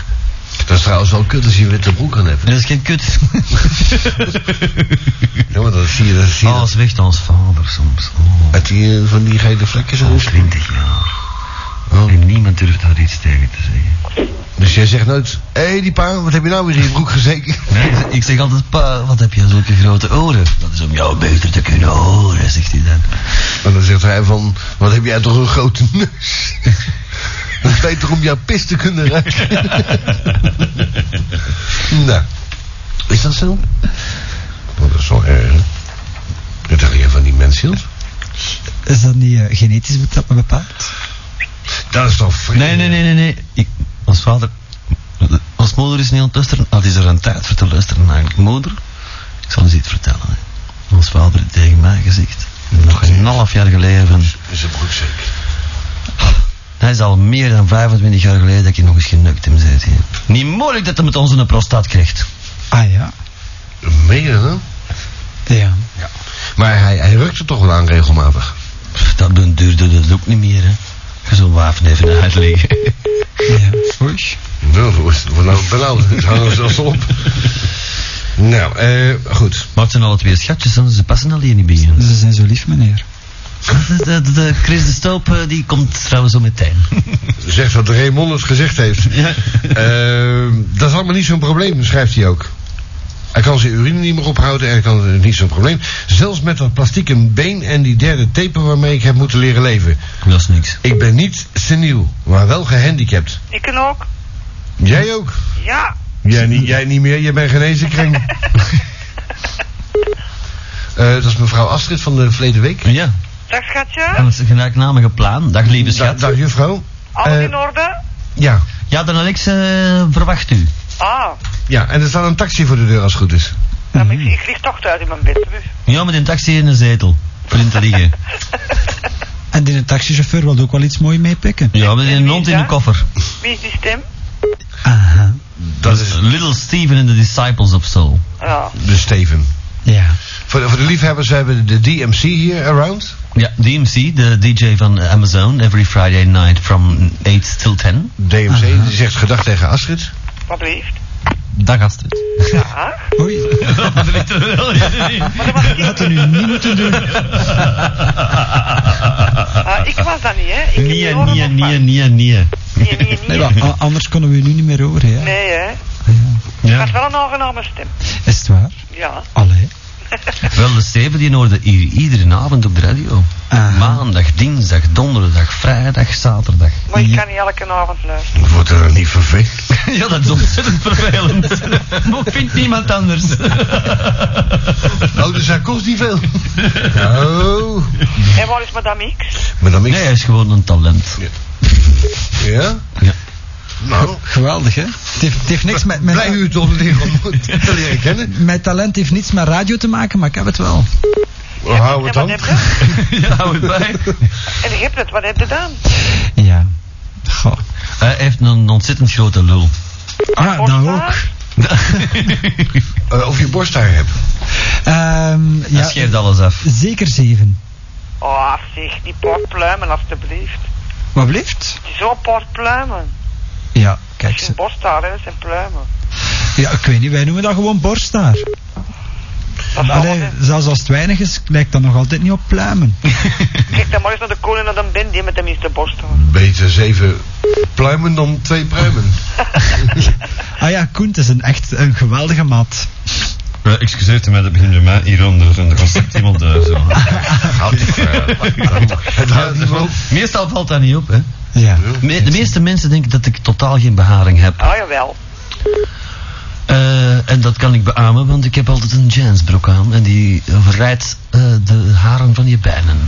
Speaker 3: dat is trouwens wel kut als je een witte broek aan hebt.
Speaker 2: Dat is geen (laughs) kut.
Speaker 3: Ja, maar dat zie je, dat zie je.
Speaker 2: Alles weg dan als vader soms. Oh,
Speaker 3: Uit die, eh, van die gele vlekjes aan
Speaker 2: al
Speaker 3: de sliep.
Speaker 2: 20 jaar.
Speaker 3: Oh.
Speaker 2: En niemand durft daar iets tegen te zeggen.
Speaker 3: Dus jij zegt nooit, hé hey, die pa, wat heb je nou weer in je broek (laughs) gezeken?
Speaker 2: Nee, ik zeg- ik zeg altijd, pa, wat heb je zulke grote oren? Dat is om jou beter te kunnen horen, zegt hij dan.
Speaker 3: En dan zegt hij van, wat heb jij toch een grote neus? (laughs) Dat is beter om jouw pis te kunnen ruiken. (laughs) nou, is dat zo? Oh, dat is wel erg, hè? Dat dacht je van die mens hield?
Speaker 1: Is dat niet eh, genetisch beta- bepaald?
Speaker 3: Dat is toch vreemd?
Speaker 2: Nee, nee, nee, nee, nee. Ik, ons vader, ons moeder is niet aan het luisteren. Had is er een tijd voor te luisteren naar mijn moeder. Ik zal eens iets vertellen. Hè. Ons vader heeft tegen mij gezegd, nog een half jaar geleden van...
Speaker 3: Is een broek zeker?
Speaker 2: Dat is al meer dan 25 jaar geleden dat ik nog eens genukt heb, zei hij. Niet moeilijk dat hij met ons een prostaat krijgt.
Speaker 1: Ah ja.
Speaker 3: Meen je dat nou?
Speaker 1: Ja.
Speaker 3: Maar hij, hij rukt er toch wel aan regelmatig.
Speaker 2: Pff, Dat dun- duurde dat ook niet meer, hè. Je zo'n wapen even uitleggen.
Speaker 3: (laughs)
Speaker 1: ja. Oei.
Speaker 3: Nou, hoe is het nou (laughs) benauwd? Het hangen we zelfs op. Nou, eh, goed.
Speaker 2: Maar het zijn alle twee schatjes, hè. ze passen al hier niet bij. hè.
Speaker 1: Ze zijn zo lief, meneer.
Speaker 2: De, de, de Chris de Stoop, eh, die komt trouwens zo meteen.
Speaker 3: (laughs) Zegt wat Raymond het gezegd (laughs) heeft. Eh, dat is allemaal niet zo'n probleem, schrijft hij ook. Hij kan zijn urine niet meer ophouden en hij kan het niet zo'n probleem. Zelfs met dat plastieken been en die derde taper waarmee ik heb moeten leren leven.
Speaker 2: Dat is niks.
Speaker 3: Ik ben niet seniel, maar wel gehandicapt.
Speaker 4: Ik kan ook.
Speaker 3: Jij ook?
Speaker 4: Ja.
Speaker 3: Jij niet, jij niet meer, jij bent genezen (laughs) kring. Eh, dat is mevrouw Astrid van de verleden week.
Speaker 2: Ja,
Speaker 4: Dag
Speaker 2: en
Speaker 4: schatje.
Speaker 2: het gelijknamige plan. Dag lieve
Speaker 3: Da-
Speaker 2: schat.
Speaker 3: Mm, dag juffrouw.
Speaker 4: Alles
Speaker 3: Eh,
Speaker 4: in orde?
Speaker 3: Ja.
Speaker 2: Ja, dan Alex eh, verwacht u.
Speaker 4: Ah,
Speaker 3: ja, en er staat een taxi voor de deur als het goed is.
Speaker 4: dan ik, ik lig toch thuis in mijn bed. dus.
Speaker 2: Ja, met een taxi in een zetel. Voor in te
Speaker 3: (laughs)
Speaker 2: liggen.
Speaker 1: En die taxichauffeur wilde ook wel iets moois meepikken.
Speaker 2: Ja, met een hond in een koffer.
Speaker 4: Wie is die stem?
Speaker 1: Aha.
Speaker 3: Dat is
Speaker 2: Little Steven and the Disciples of Soul.
Speaker 4: Ja.
Speaker 3: de Steven.
Speaker 1: Ja.
Speaker 3: Voor de, voor de liefhebbers we hebben de DMC hier around.
Speaker 2: Ja, DMC, de DJ van eh, Amazon, every Friday night from 8 till 10.
Speaker 3: DMC, die zegt gedag tegen Astrid.
Speaker 4: Wat liefst.
Speaker 2: Dag (laughs) Astrid.
Speaker 4: Ja.
Speaker 1: Oei.
Speaker 4: Maar dat was ik.
Speaker 1: (laughs) Dat had u nu niet moeten doen.
Speaker 4: Ah, ik was dat niet, hè. Ik heb
Speaker 2: Nee,
Speaker 4: die oren
Speaker 2: nee, nee,
Speaker 4: nog maar.
Speaker 2: nee, nee.
Speaker 4: Nee, nee, nee.
Speaker 1: Nee, maar a- anders konden we u nu niet meer horen, ja.
Speaker 4: Nee, hè. Het was
Speaker 2: Ja.
Speaker 4: wel een aangename stem.
Speaker 1: Is het waar?
Speaker 4: Ja.
Speaker 1: Allee.
Speaker 2: Wel, de Steven die hoorde i- iedere avond op de radio.
Speaker 6: Ah.
Speaker 1: Aha.
Speaker 2: Maandag, dinsdag, donderdag, vrijdag, zaterdag. (laughs)
Speaker 4: Maar
Speaker 3: Mhm.
Speaker 4: ik kan niet elke avond luisteren.
Speaker 3: Het wordt er dan niet vervelend.
Speaker 2: Ja, dat is ontzettend vervelend. Maar vindt niemand anders.
Speaker 3: (laughs) Oh, dus hij kost niet veel. Oh.
Speaker 4: En waar is madame X?
Speaker 3: Maar dan
Speaker 2: Nee,
Speaker 3: niks.
Speaker 2: hij is gewoon een
Speaker 6: (laughs)
Speaker 2: talent.
Speaker 3: Ja?
Speaker 2: Ja.
Speaker 3: Nou,
Speaker 1: Geweldig, hè? Het heeft, het heeft niks met... met
Speaker 3: blij u toch leren, ontmoeten, te leren kennen.
Speaker 1: Mijn talent heeft niets met radio te maken, maar ik heb het wel.
Speaker 3: hou het
Speaker 4: en wat
Speaker 3: dan.
Speaker 4: heb je?
Speaker 2: ja, hou het bij.
Speaker 4: En je hebt het, wat heb je dan?
Speaker 1: Ja. Goh.
Speaker 2: Hij heeft een ontzettend grote lul.
Speaker 1: Ah, dan
Speaker 3: nou
Speaker 1: ook.
Speaker 3: Eh, of je borsthaar hebt.
Speaker 1: Ehm,
Speaker 2: Hij
Speaker 1: ja,
Speaker 2: scheert alles af.
Speaker 1: zeker zeven.
Speaker 4: Oh, zeg, die paar pluimen alstublieft.
Speaker 1: Wat blijft?
Speaker 4: Zo'n paar pluimen.
Speaker 1: Ja,
Speaker 4: Dat
Speaker 1: kijk.
Speaker 4: is
Speaker 1: ze-
Speaker 4: geen borsthaar, hè, dat zijn pluimen.
Speaker 1: Ja, ik weet niet, wij noemen dat gewoon borsthaar.
Speaker 4: Dat is
Speaker 1: Allee,
Speaker 4: allemaal-
Speaker 1: zelfs als het weinig is, lijkt dat nog altijd niet op pluimen.
Speaker 4: Kijk dan maar eens naar de koning en dan ben die met de minste borsthaar.
Speaker 3: Beter zeven pluimen dan twee pruimen.
Speaker 1: Ah ja, Koen, het is een echt een geweldige mat.
Speaker 6: Ja, excuseert mij, dat begint bij mij hieronder. En er was echt iemand eh,
Speaker 2: (laughs)
Speaker 6: zo.
Speaker 3: Houd die eh, ver- (laughs) Het houdt niet op.
Speaker 2: Meestal valt dat niet op, hè.
Speaker 1: Ja.
Speaker 2: Me- de meeste mensen denken dat ik totaal geen beharing heb.
Speaker 4: Ah, jawel.
Speaker 2: Eh, en dat kan ik beamen, want ik heb altijd een jeansbroek aan. En die verrijdt eh, de haren van je bijnen.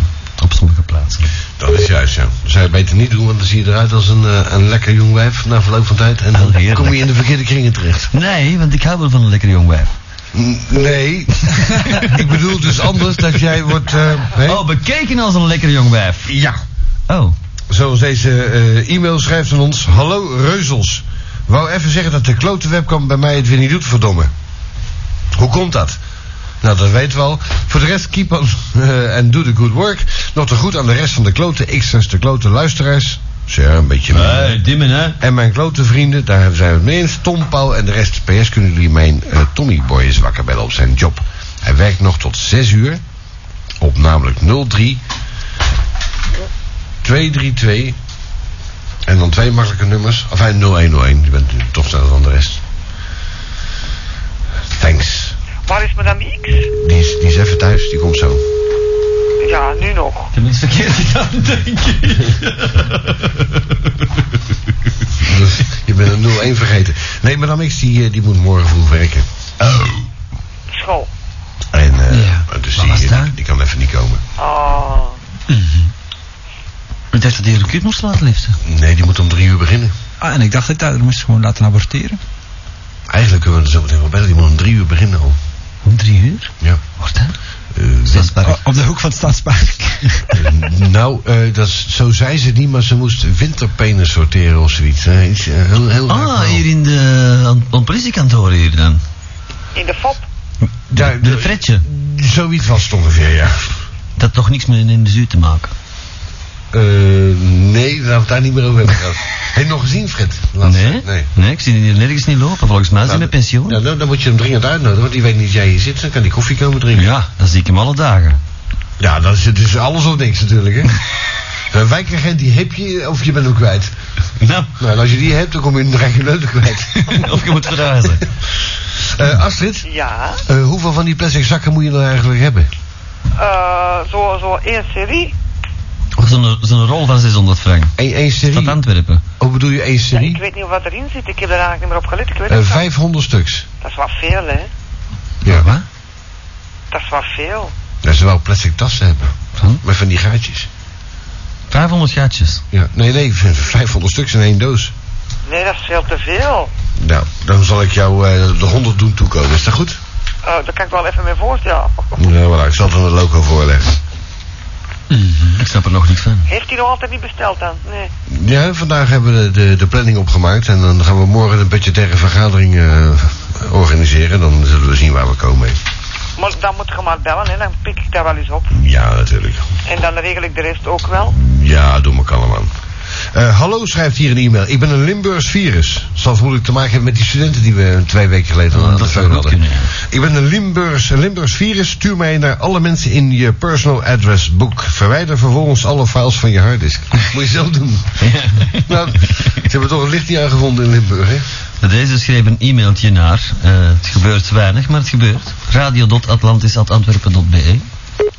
Speaker 2: Op sommige plaatsen.
Speaker 3: Dat is juist, ja. Dat zou je beter niet doen, want dan zie je eruit als een, eh, een lekker jong wijf na verloop van tijd. En
Speaker 2: Oh,
Speaker 3: dan
Speaker 2: heerlijk.
Speaker 3: kom je in de verkeerde kringen terecht.
Speaker 2: Nee, want ik hou wel van een lekkere jong wijf.
Speaker 3: N- Nee. (laughs) ik bedoel dus anders dat jij
Speaker 2: (laughs)
Speaker 3: wordt... eh, hè?
Speaker 2: Oh, bekeken als een lekkere jong wijf.
Speaker 3: Ja.
Speaker 2: Oh.
Speaker 3: Zoals deze eh, e-mail schrijft aan ons. Hallo Reuzels. Wou even zeggen dat de klote webcam bij mij het weer niet doet, verdomme. Hoe komt dat? Nou, dat weten we al. Voor de rest, keep on (laughs) eh, en do the good work. Nog te goed aan de rest van de klote X'ers, de klote luisteraars. Dus ja, een beetje minder.
Speaker 1: Eh,
Speaker 2: dimmen, hè.
Speaker 3: En mijn klote vrienden, daar zijn we het mee eens. Tom, Paul en de rest. PS kunnen jullie mijn eh, Tommy Boy eens wakker bellen op zijn job. Hij werkt nog tot 6 uur. Op namelijk 03 232 en dan twee makkelijke nummers. Of eh, enfin, 0101. Je bent toch sneller dan de rest. Thanks.
Speaker 4: Waar is madame X?
Speaker 3: Die is, die is even thuis. Die komt zo. (laughs)
Speaker 4: Ja, nu nog.
Speaker 2: Ik heb niks verkeerd gedaan, denk ik.
Speaker 3: Je bent een 01 vergeten. Nee, madame X die, eh, die moet morgen vroeg werken.
Speaker 4: School.
Speaker 3: En eh,
Speaker 2: Ja.
Speaker 3: dus
Speaker 2: Waar was
Speaker 3: die,
Speaker 2: daar?
Speaker 3: die kan even niet komen.
Speaker 4: Ah.
Speaker 2: Ik dacht dat hij een kut moest laten liften.
Speaker 3: Nee, die moet om drie uur beginnen.
Speaker 1: Ah, en ik dacht dat ik dat moest gewoon laten aborteren.
Speaker 3: Eigenlijk kunnen we er zo meteen wel bellen. Die moet om drie uur beginnen al.
Speaker 2: Om drie uur?
Speaker 3: Ja.
Speaker 2: Wordt hè?
Speaker 3: Eh,
Speaker 2: Stadspark.
Speaker 1: O- Oh, op de hoek van het (laughs) Stadspark.
Speaker 3: win- (laughs) nou, eh, dat is, zo zei ze niet, maar ze moest winterpenen sorteren of zoiets. Eh, iets, eh, heel, heel raar
Speaker 2: Ah,
Speaker 3: verhaal.
Speaker 2: hier in de aan, aan het politiekantoor hier dan.
Speaker 4: In de fop.
Speaker 3: Ja,
Speaker 2: De, de
Speaker 3: de-
Speaker 2: fretje.
Speaker 3: Zoiets was het ongeveer,
Speaker 2: (laughs)
Speaker 3: ja.
Speaker 2: Dat had toch niks met in de zuur te maken.
Speaker 3: Eh, nee, laten we het daar niet meer over hebben.
Speaker 2: (laughs)
Speaker 3: gehad. Heb je het nog gezien, Fred? Laatst?
Speaker 2: Nee?
Speaker 3: Nee.
Speaker 2: Nee, ik zie die hier nergens niet lopen. Volgens mij is hij
Speaker 3: Nou,
Speaker 2: met pensioen.
Speaker 3: Ja,
Speaker 2: Ja.
Speaker 3: dan, dan moet je hem dringend uitnodigen, want die weet niet dat jij hier zit. Dan kan die koffie komen drinken.
Speaker 2: dan zie ik hem alle dagen. (laughs)
Speaker 3: Ja, dat is, het is alles of niks natuurlijk, (laughs) hè. Een wijkagent, die heb je of je bent hem kwijt.
Speaker 2: Nou,
Speaker 3: Nou, en als je die hebt, dan kom je een reguleur kwijt. (laughs)
Speaker 2: of je moet verhuizen.
Speaker 3: Eh, Astrid,
Speaker 4: Ja.
Speaker 3: eh, hoeveel van die plastic zakken moet je nou eigenlijk hebben?
Speaker 4: Eh, zo, zo één serie.
Speaker 2: Zo'n zo'n rol van 600 frank.
Speaker 3: Eén één
Speaker 2: Van
Speaker 3: serie?
Speaker 2: Antwerpen.
Speaker 3: Hoe bedoel je één
Speaker 4: Ja, ik
Speaker 3: serie?
Speaker 4: weet niet wat erin zit. Ik heb daar eigenlijk niet meer op gelet. Ik weet
Speaker 3: Eh,
Speaker 4: het niet.
Speaker 3: 500 stuks.
Speaker 4: Dat is wel veel, hè.
Speaker 3: Ja.
Speaker 2: Wat?
Speaker 4: Dat is wel veel.
Speaker 3: Dat ze wel plastic tassen hebben.
Speaker 2: Van?
Speaker 3: Met van die gaatjes.
Speaker 2: 500 gaatjes.
Speaker 3: Ja. Nee, nee, 500 stuks in één doos.
Speaker 4: Nee, dat is veel te veel.
Speaker 3: Nou, dan zal ik jou eh, de 100 doen toekomen. Is dat goed?
Speaker 4: Eh, daar kan ik wel even mee voorstellen.
Speaker 3: Ja, voilà, ik zal het aan de loco voorleggen. Hmm.
Speaker 2: Ik snap er nog niet
Speaker 3: (laughs)
Speaker 2: van.
Speaker 4: Heeft hij nog altijd niet besteld dan? Nee.
Speaker 3: Ja, vandaag hebben we de, de planning opgemaakt. En dan gaan we morgen een budgettaire vergadering eh, organiseren. Dan zullen we zien waar we komen.
Speaker 4: Maar dan moet je maar bellen, hè. Dan pik ik dat wel eens op.
Speaker 3: Ja, natuurlijk.
Speaker 4: En dan regel ik de rest ook wel.
Speaker 3: Ja, doe maar kalm aan. Eh, hallo, schrijft hier een e-mail. Ik ben een Limburgs virus. Zal vermoedelijk te maken hebben met die studenten die we twee weken geleden aan
Speaker 2: Nou, Dat
Speaker 3: de
Speaker 2: zou
Speaker 3: phone
Speaker 2: goed
Speaker 3: hadden.
Speaker 2: kunnen, ja.
Speaker 3: Ik ben een Limburgs, een Limburgs virus. Stuur mij naar alle mensen in je personal address book. Verwijder vervolgens alle files van je
Speaker 2: (laughs)
Speaker 3: harddisk. Moet je zelf doen. nou, ze hebben toch een licht niet aangevonden in Limburg, hè?
Speaker 2: Deze schreef een e-mailtje naar. eh, het gebeurt weinig, maar het gebeurt. Radio.atlantis.antwerpen.be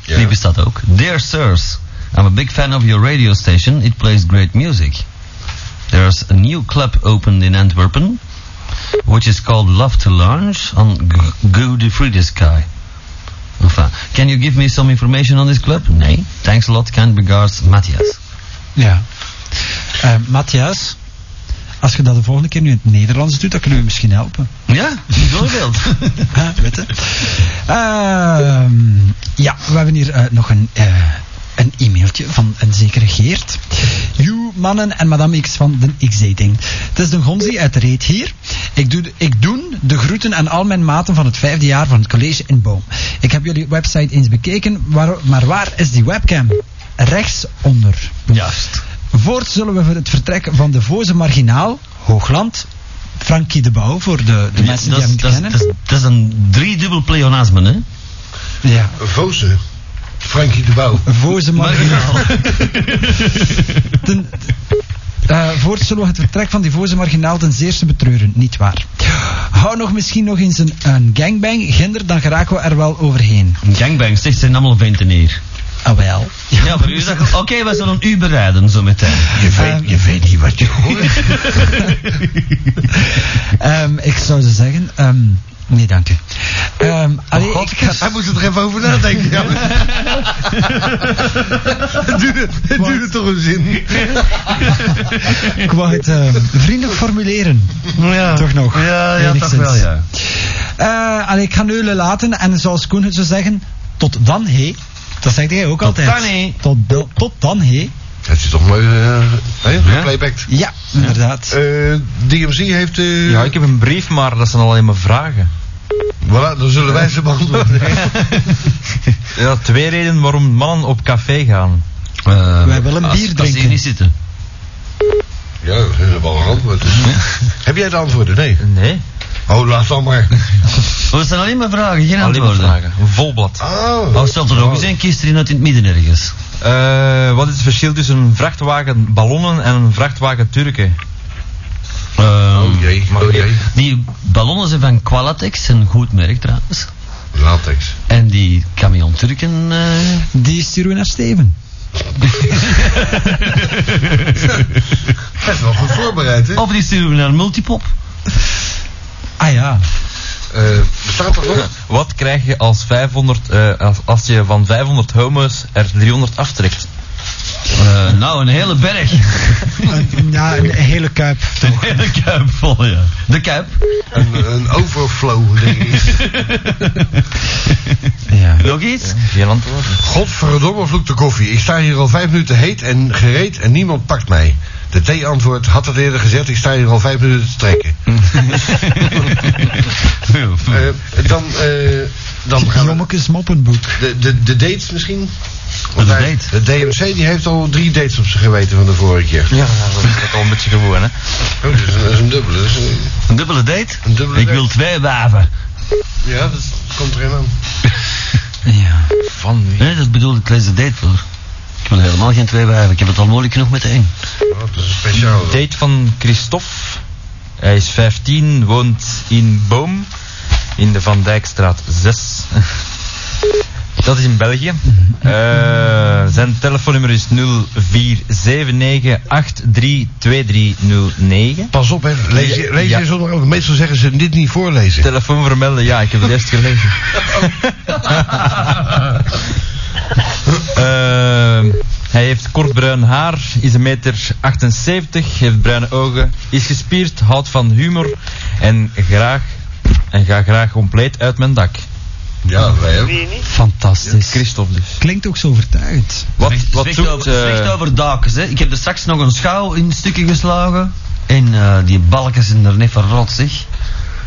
Speaker 3: Ja.
Speaker 2: Die bestaat ook. Dear sirs, I'm a big fan of your radio station. It plays great music. There's a new club opened in Antwerpen, which is called Love to Lounge on G- Goody Friday Sky. Enfin, can you give me some information on this club? Nee. Thanks a lot, kind regards, Matthias.
Speaker 1: ja. Eh, Matthias, Als je dat de volgende keer nu in het Nederlands doet, dan kunnen we je misschien helpen.
Speaker 2: Ja, bijvoorbeeld.
Speaker 1: Ah, weet je. Ehm, ja, we hebben hier eh, nog een, eh, een e-mailtje van een zekere Geert. You mannen en madame X van de X-dating. Het is de Gonzi uit Reet hier. Ik doe, ik doe de groeten aan al mijn maten van het vijfde jaar van het college in Boom. Ik heb jullie website eens bekeken, waar, maar waar is die webcam? Rechtsonder.
Speaker 2: Juist.
Speaker 1: Voort zullen we voor het vertrek van de Voze Marginaal, Hoogland, Frankie de Bouw, voor de, de mensen
Speaker 2: Dat
Speaker 1: die hem
Speaker 2: is-
Speaker 1: niet
Speaker 2: dat is-
Speaker 1: kennen.
Speaker 2: dat is- dat is een driedubbel pleonasme, hè?
Speaker 1: ja.
Speaker 3: Voze. Frankie de (laughs) Bouw.
Speaker 1: Voze marginaal. ten, eh, voort zullen we het vertrek van die voze marginaal ten zeerste betreuren, nietwaar? Hou nog misschien nog eens een, een gangbang, ginder, dan geraken we er wel overheen.
Speaker 2: Gangbangs, zegt zijn allemaal venten hier.
Speaker 1: Ah wel.
Speaker 2: Ja, voor u is dat... Oké, we zullen u bereiden zo meteen.
Speaker 3: Je weet, je weet niet wat je hoort.
Speaker 1: Ehm, ik zou ze zeggen, ehm, nee dank u. Ehm, allee, ik ga...
Speaker 3: Oh, Hij moest er even over nadenken. Ja. het duurde, het duurde toch een zin.
Speaker 1: Ik wou het eh, vriendelijk formuleren.
Speaker 2: Ja.
Speaker 1: Toch nog?
Speaker 2: Ja, ja toch
Speaker 1: Enigszins.
Speaker 2: wel, ja.
Speaker 1: Eh, allee, ik ga Neulen laten en zoals Koen het zou zeggen, tot dan hé. Dat zegt hij ook altijd.
Speaker 2: dan, hé.
Speaker 1: Tot, dan- tot dan hé.
Speaker 3: Het is toch mooi eh hè, geplaybacked.
Speaker 1: Ja, inderdaad.
Speaker 3: Eh, DMC heeft... eh,
Speaker 7: Ja, ik heb een brief, maar dat zijn alleen maar vragen.
Speaker 3: Voilà, dan zullen wij
Speaker 7: (laughs)
Speaker 3: ze beantwoorden.
Speaker 7: Ja, twee redenen waarom mannen op café gaan.
Speaker 1: Wij willen bier
Speaker 2: Eh, als, Als
Speaker 1: drinken.
Speaker 2: ze hier niet zitten.
Speaker 3: ja, dat is wel een antwoord.
Speaker 7: (laughs)
Speaker 3: dus. Heb jij de antwoorden? Nee.
Speaker 7: Nee,
Speaker 3: Oh, laat dan maar.
Speaker 7: (laughs)
Speaker 2: Oh, het zijn alleen maar vragen, geen
Speaker 7: alleen maar
Speaker 2: antwoorden.
Speaker 7: vragen. Een volblad.
Speaker 3: Oh.
Speaker 2: Oh, stel er ook eens een kist erin uit in het midden ergens.
Speaker 7: Eh, wat is het verschil tussen een vrachtwagen ballonnen en een vrachtwagen Turken?
Speaker 2: Ehm,
Speaker 3: Oh jee, oh jee.
Speaker 2: Die ballonnen zijn van Qualatex, een goed merk trouwens.
Speaker 3: Latex.
Speaker 2: En die camion Turken... eh,
Speaker 1: Die sturen we naar Steven.
Speaker 3: Dat is wel goed voorbereid, hè?
Speaker 7: Oh.
Speaker 2: of die sturen we naar Multipop.
Speaker 1: Ah ja.
Speaker 3: Eh, bestaat dat nog?
Speaker 7: Wat krijg je als, 500, eh, als, als je van 500 homo's er 300 aftrekt?
Speaker 2: Eh, nou, een hele berg.
Speaker 7: (laughs)
Speaker 1: ja, een hele kuip.
Speaker 2: Een hele kuip vol, ja. De kuip.
Speaker 3: Een, een overflow
Speaker 7: (laughs)
Speaker 3: ding.
Speaker 1: Ja.
Speaker 2: Nog iets?
Speaker 7: Geen
Speaker 2: (laughs)
Speaker 7: antwoord.
Speaker 3: Godverdomme vloek de koffie. Ik sta hier al vijf minuten heet en gereed en niemand pakt mij. De T-antwoord had het eerder gezegd, ik sta hier al vijf minuten te trekken. Eh, dan, eh, dan gaan we...
Speaker 1: Jommekes moppenboek.
Speaker 3: De, de, de dates misschien? Want
Speaker 2: de
Speaker 3: hij-
Speaker 2: date.
Speaker 3: De DMC die heeft al drie dates op zijn geweten van de vorige keer.
Speaker 7: Ja, dat is al een beetje gewoon, hè.
Speaker 3: Oh, dat is een, dat is een dubbele. dat is een-
Speaker 2: Een dubbele date?
Speaker 3: Een dubbele
Speaker 2: Ik
Speaker 3: date.
Speaker 2: wil twee waven.
Speaker 3: ja, dat komt erin aan.
Speaker 1: Ja.
Speaker 7: Van wie?
Speaker 2: Nee, dat bedoelde ik deze date voor. Ik wil helemaal geen twee waven. Ik heb het al moeilijk genoeg met één.
Speaker 3: Oh, dat is een speciaal.
Speaker 7: Date van Christophe. Hij is 15, woont in Boom, in de Van Dijkstraat 6. (laughs) Dat is in België. Eh, zijn telefoonnummer is 0479832309.
Speaker 3: Pas op, hè. lees je, lees
Speaker 7: Ja.
Speaker 3: je zonder ook. Meestal zeggen ze dit niet voorlezen.
Speaker 7: Telefoon vermelden, ja, ik heb het eerst gelezen. Ehm, hij heeft kort bruin haar, is 1,78 meter, 78, heeft bruine ogen, is gespierd, houdt van humor en, graag, en gaat graag compleet uit mijn dak.
Speaker 3: Ja, wij ook.
Speaker 4: Weet je niet?
Speaker 1: Fantastisch.
Speaker 7: Christophe dus.
Speaker 1: Klinkt ook zo overtuigend.
Speaker 7: Wat,
Speaker 2: Zwicht-
Speaker 7: wat
Speaker 2: zwicht
Speaker 7: zoekt...
Speaker 2: over, zwicht
Speaker 7: eh,
Speaker 2: over dakens, hè. Ik heb er straks nog een schouw in stukken geslagen. En eh, die balken zijn er net verrot, zeg.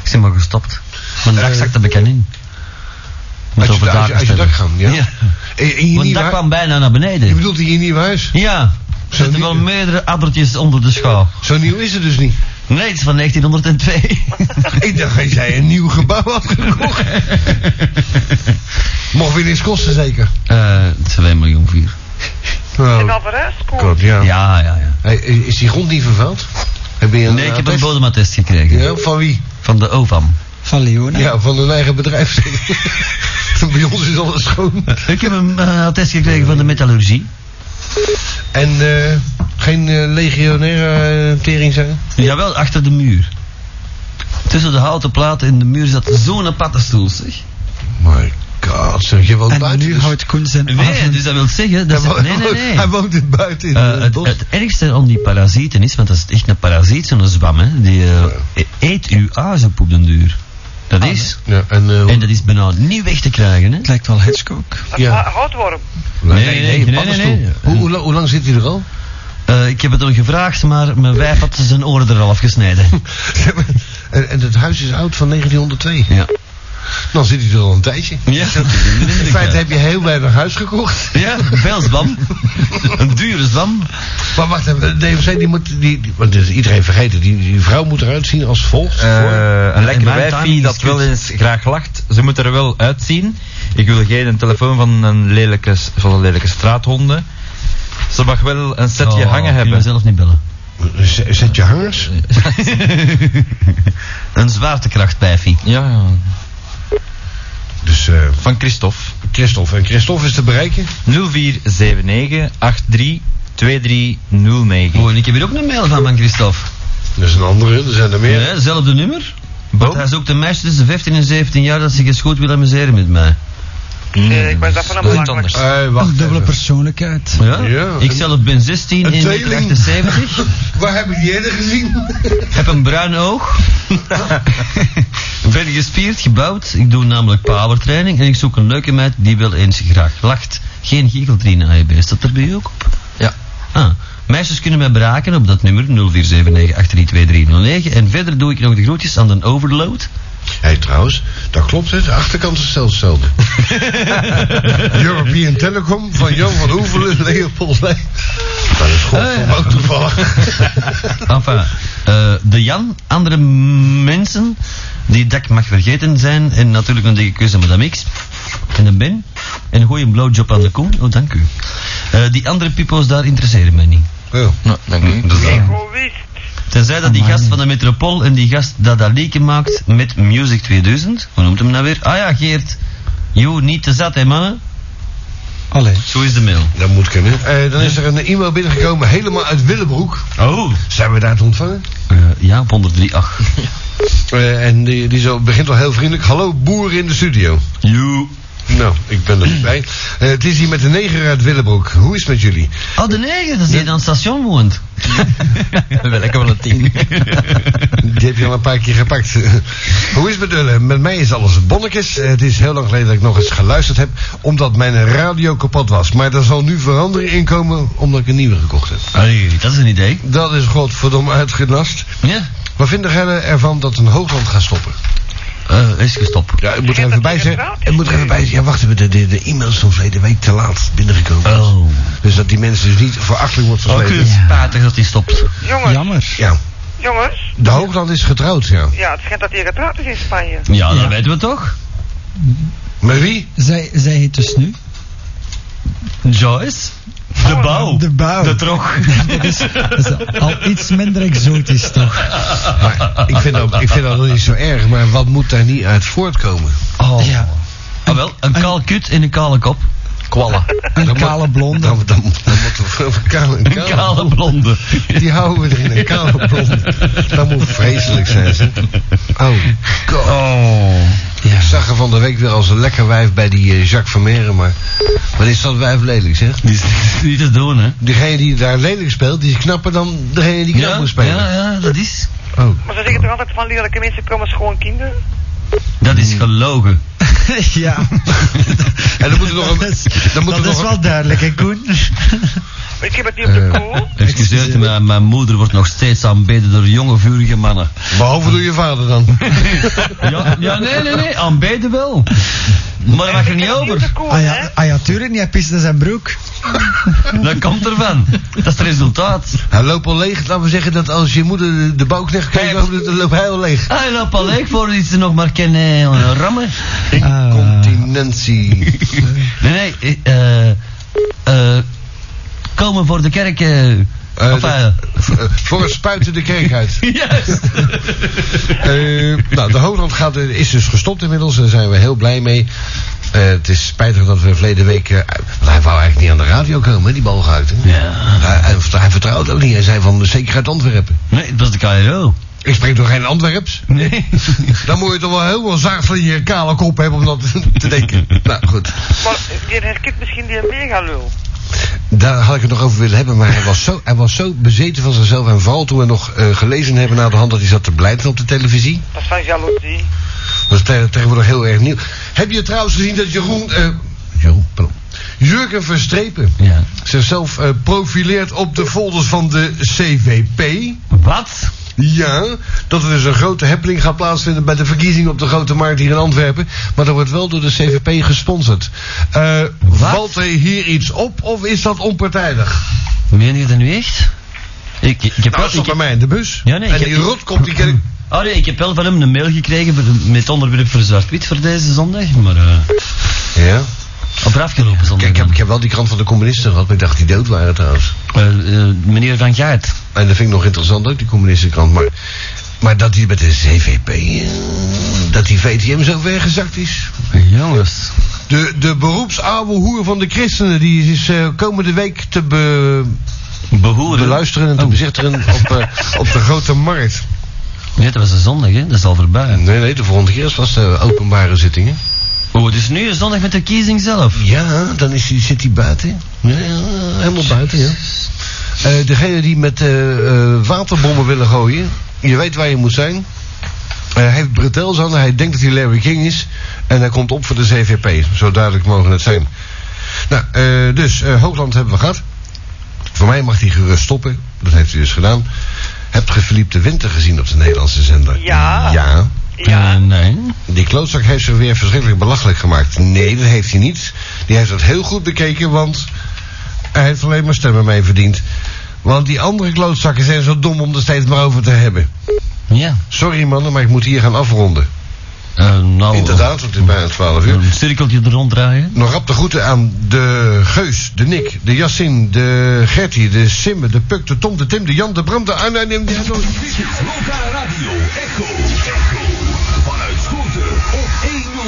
Speaker 2: Ik ben maar gestopt. Mijn dak zakte bekend in. Moet
Speaker 3: Eh, Als je,
Speaker 2: over
Speaker 3: als je,
Speaker 2: dakens
Speaker 3: als je dak
Speaker 2: hebben.
Speaker 3: gaan, ja.
Speaker 2: Ja.
Speaker 3: (laughs) Eh, In, in je
Speaker 2: Mijn
Speaker 3: nieuwe
Speaker 2: dak
Speaker 3: hu-
Speaker 2: kwam bijna naar
Speaker 3: je
Speaker 2: beneden.
Speaker 3: bedoelt in je nieuwe huis?
Speaker 2: Ja. Er
Speaker 3: Zo
Speaker 2: zitten
Speaker 3: niet- eh.
Speaker 2: wel meerdere addertjes onder de schouw.
Speaker 3: Zo nieuw is het dus niet.
Speaker 2: Nee, het is van
Speaker 3: (laughs)
Speaker 2: 1902.
Speaker 3: Ik dacht dat jij een nieuw gebouw had gekocht.
Speaker 2: (laughs)
Speaker 3: Mocht weer niks kosten, zeker.
Speaker 2: Eh, 2 miljoen vier.
Speaker 4: En
Speaker 3: Nou,
Speaker 4: al vooruit, Koen.
Speaker 3: klopt, ja.
Speaker 2: Ja, ja, ja.
Speaker 3: Hey, i- is die grond niet vervuild? Heb je een
Speaker 2: Nee, ik heb
Speaker 3: eh,
Speaker 2: een
Speaker 3: test?
Speaker 2: bodematest gekregen.
Speaker 3: Ja, van wie?
Speaker 2: Van de OVAM.
Speaker 1: Van Leona.
Speaker 3: Ja, van hun eigen bedrijf. (laughs) Bij ons is alles schoon.
Speaker 2: Ik heb een eh, attest gekregen van de metallurgie.
Speaker 3: En eh, geen eh, legionaire eh, tering zijn?
Speaker 2: Jawel, achter de muur. Tussen de houten platen en de muur zat zo'n paddenstoel, zeg.
Speaker 3: My god. God, zeg je woont
Speaker 1: En
Speaker 3: buiten.
Speaker 1: nu
Speaker 3: dus-
Speaker 1: houdt Koen zijn
Speaker 2: Nee,
Speaker 1: adem-
Speaker 2: dus dat wil zeggen... Dat
Speaker 3: hij,
Speaker 2: ze-
Speaker 3: woont,
Speaker 2: nee, nee, nee.
Speaker 3: (laughs) hij woont in buiten in
Speaker 2: Eh,
Speaker 3: het,
Speaker 2: het,
Speaker 3: bos.
Speaker 2: het ergste aan die parasieten is, want dat is echt een parasiet, zo'n zwam, hè, die eh, e- eet uw azenpoep op den duur. Dat is.
Speaker 3: ja, en, eh,
Speaker 2: En dat is bijna niet weg te krijgen, hè?
Speaker 1: Het lijkt wel Hitchcock.
Speaker 3: Ja.
Speaker 4: Ah, Houtworm.
Speaker 3: nee,
Speaker 2: nee,
Speaker 3: nee,
Speaker 2: nee,
Speaker 3: een
Speaker 2: nee,
Speaker 3: paddenstoel.
Speaker 2: nee, nee.
Speaker 3: Hoe, hoe, lang- hoe lang zit hij er al? (laughs)
Speaker 2: Eh, ik heb het hem gevraagd, maar mijn wijf had zijn oren er al afgesneden.
Speaker 3: en, en het huis is oud van 1902.
Speaker 2: Ja.
Speaker 3: Dan zit hij er al een tijdje. eh,
Speaker 2: Ja,
Speaker 3: In feite heb je heel weinig huis gekocht.
Speaker 2: Ja, veel zwam. Een dure zwam.
Speaker 3: Maar wacht even, de DFC die moet, die, die- want dat is iedereen vergeten, die, die vrouw moet eruit zien als volgt.
Speaker 7: Eh, een lekker
Speaker 2: mijn
Speaker 7: wijfie
Speaker 2: timing
Speaker 7: dat
Speaker 2: is
Speaker 7: wel
Speaker 2: kut.
Speaker 7: eens graag lacht. Ze moet er wel uitzien. Ik wil geen telefoon van een lelijke, s- van een lelijke straathonden. Ze mag wel een setje
Speaker 2: Oh,
Speaker 7: hangen
Speaker 2: kun je
Speaker 7: hebben.
Speaker 2: zelf niet bellen.
Speaker 3: Z- Zet je hangers.
Speaker 7: (laughs)
Speaker 2: Een zwaartekrachtwijfie.
Speaker 7: Ja, ja.
Speaker 3: Dus eh,
Speaker 7: van Christophe.
Speaker 3: Christophe. En Christophe is te bereiken.
Speaker 7: 0479 83 2309.
Speaker 2: Oh, en ik heb hier ook een mail van van Christophe.
Speaker 3: Dat is een andere, er zijn er meer.
Speaker 2: Ja, hetzelfde nummer. Want
Speaker 7: Boom.
Speaker 2: hij zoekt een meisje tussen 15 en 17 jaar dat zich eens goed wil amuseren met mij.
Speaker 4: Eh, ik was dat van een
Speaker 7: Dat is
Speaker 4: belangrijk.
Speaker 7: anders.
Speaker 3: Eh,
Speaker 1: Een
Speaker 3: wacht
Speaker 1: dubbele
Speaker 3: even.
Speaker 1: persoonlijkheid.
Speaker 7: Ah.
Speaker 2: Ja?
Speaker 3: Ja,
Speaker 2: ik
Speaker 3: een-
Speaker 2: zelf ben 16
Speaker 3: een
Speaker 2: in
Speaker 3: tweeling.
Speaker 2: 1978.
Speaker 3: (laughs) Waar heb ik die eerder gezien?
Speaker 2: heb een bruin oog. (laughs) ben gespierd, gebouwd. Ik doe namelijk powertraining en ik zoek een leuke meid die wel eens graag lacht. Geen giecheltrien aan je beest. Staat dat bij u ook op?
Speaker 7: Ja.
Speaker 2: Ah, meisjes kunnen mij beraken op dat nummer 0479832309. En verder doe ik nog de groetjes aan de overload.
Speaker 3: Hé, (laughs) hey, trouwens, dat klopt hè. De achterkant is zelfs hetzelfde. (laughs) European Telecom van Jan van Oevelen, Leopold Eh, Leij. Dat is goed voor me ook toevallig.
Speaker 2: Enfin, eh, de Jan, andere m- mensen die dat ik mag vergeten zijn. En natuurlijk een dikke kus aan Madame X. En een Ben. En een goede blowjob aan de Koen. Oh, dank u. Eh, die andere pipo's daar interesseren mij niet.
Speaker 3: (laughs) Ja.
Speaker 7: Nou, dank u.
Speaker 4: Egoïst.
Speaker 2: Tenzij dat die gast van de Metropool en die gast dat dat liedje maakt met Music 2000. Hoe noemt hem nou weer? Ah ja, Geert. Jo, niet te zat hè mannen.
Speaker 1: Allee.
Speaker 2: Zo is de mail.
Speaker 3: Dat moet kunnen. Eh, dan is er een e-mail binnengekomen, helemaal uit Willebroek.
Speaker 2: Oh.
Speaker 3: Zijn we daar te ontvangen?
Speaker 2: Eh, ja, op 103. Ach.
Speaker 3: Eh, en die, die zo begint al heel vriendelijk. Hallo, boer in de studio.
Speaker 2: Jo.
Speaker 3: Nou, ik ben er bij. Eh, het is hier met de neger uit Willebroek. Hoe is het met jullie?
Speaker 2: Oh, de neger, dat is die die aan het station woont.
Speaker 7: Welke van de
Speaker 2: (laughs)
Speaker 7: tien?
Speaker 3: Die heb je al een paar keer gepakt. (laughs) Hoe is het met jullie? Met mij is alles bonnetjes. Eh, Het is heel lang geleden dat ik nog eens geluisterd heb, omdat mijn radio kapot was. Maar er zal nu verandering in komen, omdat ik een nieuwe gekocht heb.
Speaker 2: Allee, dat is een idee.
Speaker 3: Dat is godverdomme uitgenast.
Speaker 2: Ja.
Speaker 3: Wat vinden jullie ervan dat een hoogland gaat stoppen?
Speaker 2: Eh is gestopt.
Speaker 3: Ja, ik moet er even
Speaker 4: dat
Speaker 3: bij
Speaker 4: die
Speaker 3: zeggen.
Speaker 4: inderdaad
Speaker 3: Ik moet er even bij zeggen. Ja, wacht even. De, de, de e-mail is van verleden week te laat binnengekomen.
Speaker 2: Oh.
Speaker 3: Dus dat die mensen dus niet verachtelijk wordt
Speaker 2: Oh,
Speaker 3: versleten.
Speaker 2: spijtig dat die stopt.
Speaker 4: Jongens,
Speaker 1: Jammer.
Speaker 3: Ja,
Speaker 4: jongens.
Speaker 3: de Hoogland is getrouwd, ja.
Speaker 4: Ja, het schijnt dat hij getrouwd is in Spanje.
Speaker 2: Ja, dat weten we toch?
Speaker 3: Maar wie?
Speaker 1: Zij, zij heet dus nu.
Speaker 2: Joyce. De bouw.
Speaker 1: Oh, De bouw.
Speaker 2: De trog.
Speaker 1: (laughs) Dat is al iets minder exotisch toch?
Speaker 3: Maar ik vind, dat, ik vind dat niet zo erg, maar wat moet daar niet uit voortkomen?
Speaker 2: Oh.
Speaker 1: Ja.
Speaker 2: Ah, wel, een kaal kut en een kale kop.
Speaker 3: Kwallen.
Speaker 1: Een kale blonde.
Speaker 3: Dan, dan, dan moeten we over kale
Speaker 2: (laughs)
Speaker 3: en
Speaker 2: Een kale blonde.
Speaker 3: Die houden we erin, een kale blonde. Dat moet vreselijk zijn, zeg. Oh, God.
Speaker 2: Oh.
Speaker 3: Ik zag er van de week weer als een lekker wijf bij die eh, Jacques Vermeeren, maar... Wat is dat wijf lelijk, zeg?
Speaker 2: Die is (laughs) niet te doen, hè?
Speaker 3: Degene die daar lelijk speelt, die is knapper dan degene die knap moet spelen.
Speaker 2: ja, ja, dat is.
Speaker 3: Oh.
Speaker 4: Maar ze zeggen toch altijd van lelijke mensen komen schoon kinderen?
Speaker 2: Dat is gelogen.
Speaker 1: (laughs)
Speaker 2: (laughs)
Speaker 1: ja.
Speaker 2: Oh,
Speaker 3: En dan moet er nog een...
Speaker 1: Dat is,
Speaker 3: dan moet er
Speaker 1: dat
Speaker 3: nog
Speaker 1: is
Speaker 3: een-
Speaker 1: wel duidelijk, hè, Koen?
Speaker 4: Maar ik heb het niet op de koel.
Speaker 2: Excuseert me, maar mijn moeder wordt nog steeds aanbeden door jonge, vurige mannen.
Speaker 3: Behalve door je
Speaker 2: (laughs)
Speaker 3: vader dan.
Speaker 2: Ja, ja nee, nee, nee, aanbeden wel. Maar dat mag er
Speaker 4: Ik
Speaker 2: niet
Speaker 4: heb het niet op
Speaker 2: over.
Speaker 4: de koel,
Speaker 1: Ah
Speaker 4: hè?
Speaker 1: ja, ah, ja tuurlijk niet. Hij pist in zijn broek.
Speaker 2: Dat komt ervan. Dat is het resultaat.
Speaker 3: Hij loopt al leeg. Laten we zeggen dat als je moeder de- de bouwknecht kijkt, dan loopt hij al leeg.
Speaker 2: Ah, Hij loopt al leeg voor iets nog maar kan eh, rammen.
Speaker 1: Ah.
Speaker 2: (laughs)
Speaker 3: Continentie.
Speaker 2: Nee, nee, eh, eh, komen voor de kerk. eh,
Speaker 3: Eh,
Speaker 2: of, eh,
Speaker 3: Voor het spuiten de kerk uit.
Speaker 2: (laughs) juist.
Speaker 3: (laughs) Eh, nou, de Hoogland gaat, eh, is dus gestopt inmiddels. Daar zijn we heel blij mee. Eh, het is spijtig dat we verleden week... eh, want hij wou eigenlijk niet aan de radio komen, hè, die balgehuid. hè.
Speaker 2: Ja.
Speaker 3: Hij, hij, hij vertrouwde ook niet. Hij zei van, zeker uit Antwerpen.
Speaker 2: Nee, dat was de KRO.
Speaker 3: Ik spreek toch geen Antwerps?
Speaker 2: Nee.
Speaker 3: Dan moet je toch wel heel veel zaag in je kale kop hebben om dat (laughs) te denken. Nou, goed.
Speaker 4: Maar die herkent misschien die megalul.
Speaker 3: Daar had ik het nog over willen hebben, maar hij was zo, hij was zo bezeten van zichzelf. En vooral toen we nog eh, gelezen hebben na de hand dat hij zat te blijten op de televisie.
Speaker 4: Dat is van jaloezie.
Speaker 3: Dat is te- tegenwoordig heel erg nieuw. Heb je trouwens gezien dat Jeroen... eh, Jeroen, pardon. Jurgen Verstrepen
Speaker 2: Ja.
Speaker 3: zichzelf eh, profileert op de folders van de CVP.
Speaker 2: Wat?
Speaker 3: Ja, dat er dus een grote happening gaat plaatsvinden bij de verkiezingen op de Grote Markt hier in Antwerpen. Maar dat wordt wel door de CVP gesponsord. Eh, valt er hier iets op of is dat onpartijdig?
Speaker 2: Meen je dat nu echt? Ik, ik, heb
Speaker 3: Nou, dat
Speaker 2: wel,
Speaker 3: stond
Speaker 2: Nou, ik,
Speaker 3: bij mij in de bus.
Speaker 2: Ja, nee,
Speaker 3: en
Speaker 2: ik-
Speaker 3: die
Speaker 2: ik-
Speaker 3: rotkop, die ken ik...
Speaker 2: (clears throat) oh nee, ik heb wel van hem een mail gekregen voor- met onderwerp voor zwart-wit voor deze zondag. Maar eh
Speaker 3: Ja.
Speaker 2: op afgelopen zondag.
Speaker 3: Kijk, ik heb,
Speaker 2: dan.
Speaker 3: ik heb wel die krant van de communisten gehad, maar ik dacht die dood waren trouwens.
Speaker 2: Eh, eh, meneer Van Gaert.
Speaker 3: En dat vind ik nog interessant ook, die communistenkrant. Maar, maar dat die met de CVP... eh, Dat die VTM zo weggezakt is.
Speaker 2: Jongens.
Speaker 3: De, de beroepsoude hoer van de christenen... die is eh, komende week te be,
Speaker 2: Behoeren.
Speaker 3: beluisteren en te bezichtigen op, eh, op de Grote Markt.
Speaker 2: Nee, dat was een zondag, hè? Dat is al voorbij.
Speaker 3: Nee, nee, de volgende keer is vast eh, openbare zittingen.
Speaker 2: Oh, dus nu is zondag met de kiezing zelf.
Speaker 3: Ja, dan is die, zit hij buiten. Ja, ja, helemaal buiten, ja. Eh degene die met eh, eh, waterbommen willen gooien, je weet waar je moet zijn. Eh, hij heeft bretels aan, hij denkt dat hij Larry King is. En hij komt op voor de CVP, zo duidelijk mogen het zijn. Nou, eh, dus eh, Hoogland hebben we gehad. Voor mij mag hij gerust stoppen, dat heeft hij dus gedaan. Hebt ge Philippe de Winter gezien op de Nederlandse zender?
Speaker 4: Ja.
Speaker 3: Ja.
Speaker 2: Eh,
Speaker 4: Ja.
Speaker 2: nee.
Speaker 3: Die klootzak heeft ze weer verschrikkelijk belachelijk gemaakt. Nee, dat heeft hij niet. Die heeft dat heel goed bekeken, want hij heeft alleen maar stemmen mee verdiend. Want die andere klootzakken zijn zo dom om er steeds maar over te hebben.
Speaker 2: Ja.
Speaker 3: Sorry mannen, maar ik moet hier gaan afronden.
Speaker 2: Eh, nou, eh,
Speaker 3: Inderdaad, want het is bijna 12 uur.
Speaker 2: Een cirkeltje er ronddraaien.
Speaker 3: Nog rap de groeten aan de Geus, de Nick, de Jassin, de Gertie, de Simme, de Puk, de Tom, de Tim, de Jan, de Bram, de Arnijn en de Hanoi.
Speaker 8: Dit is Loka Radio Echo. Echo.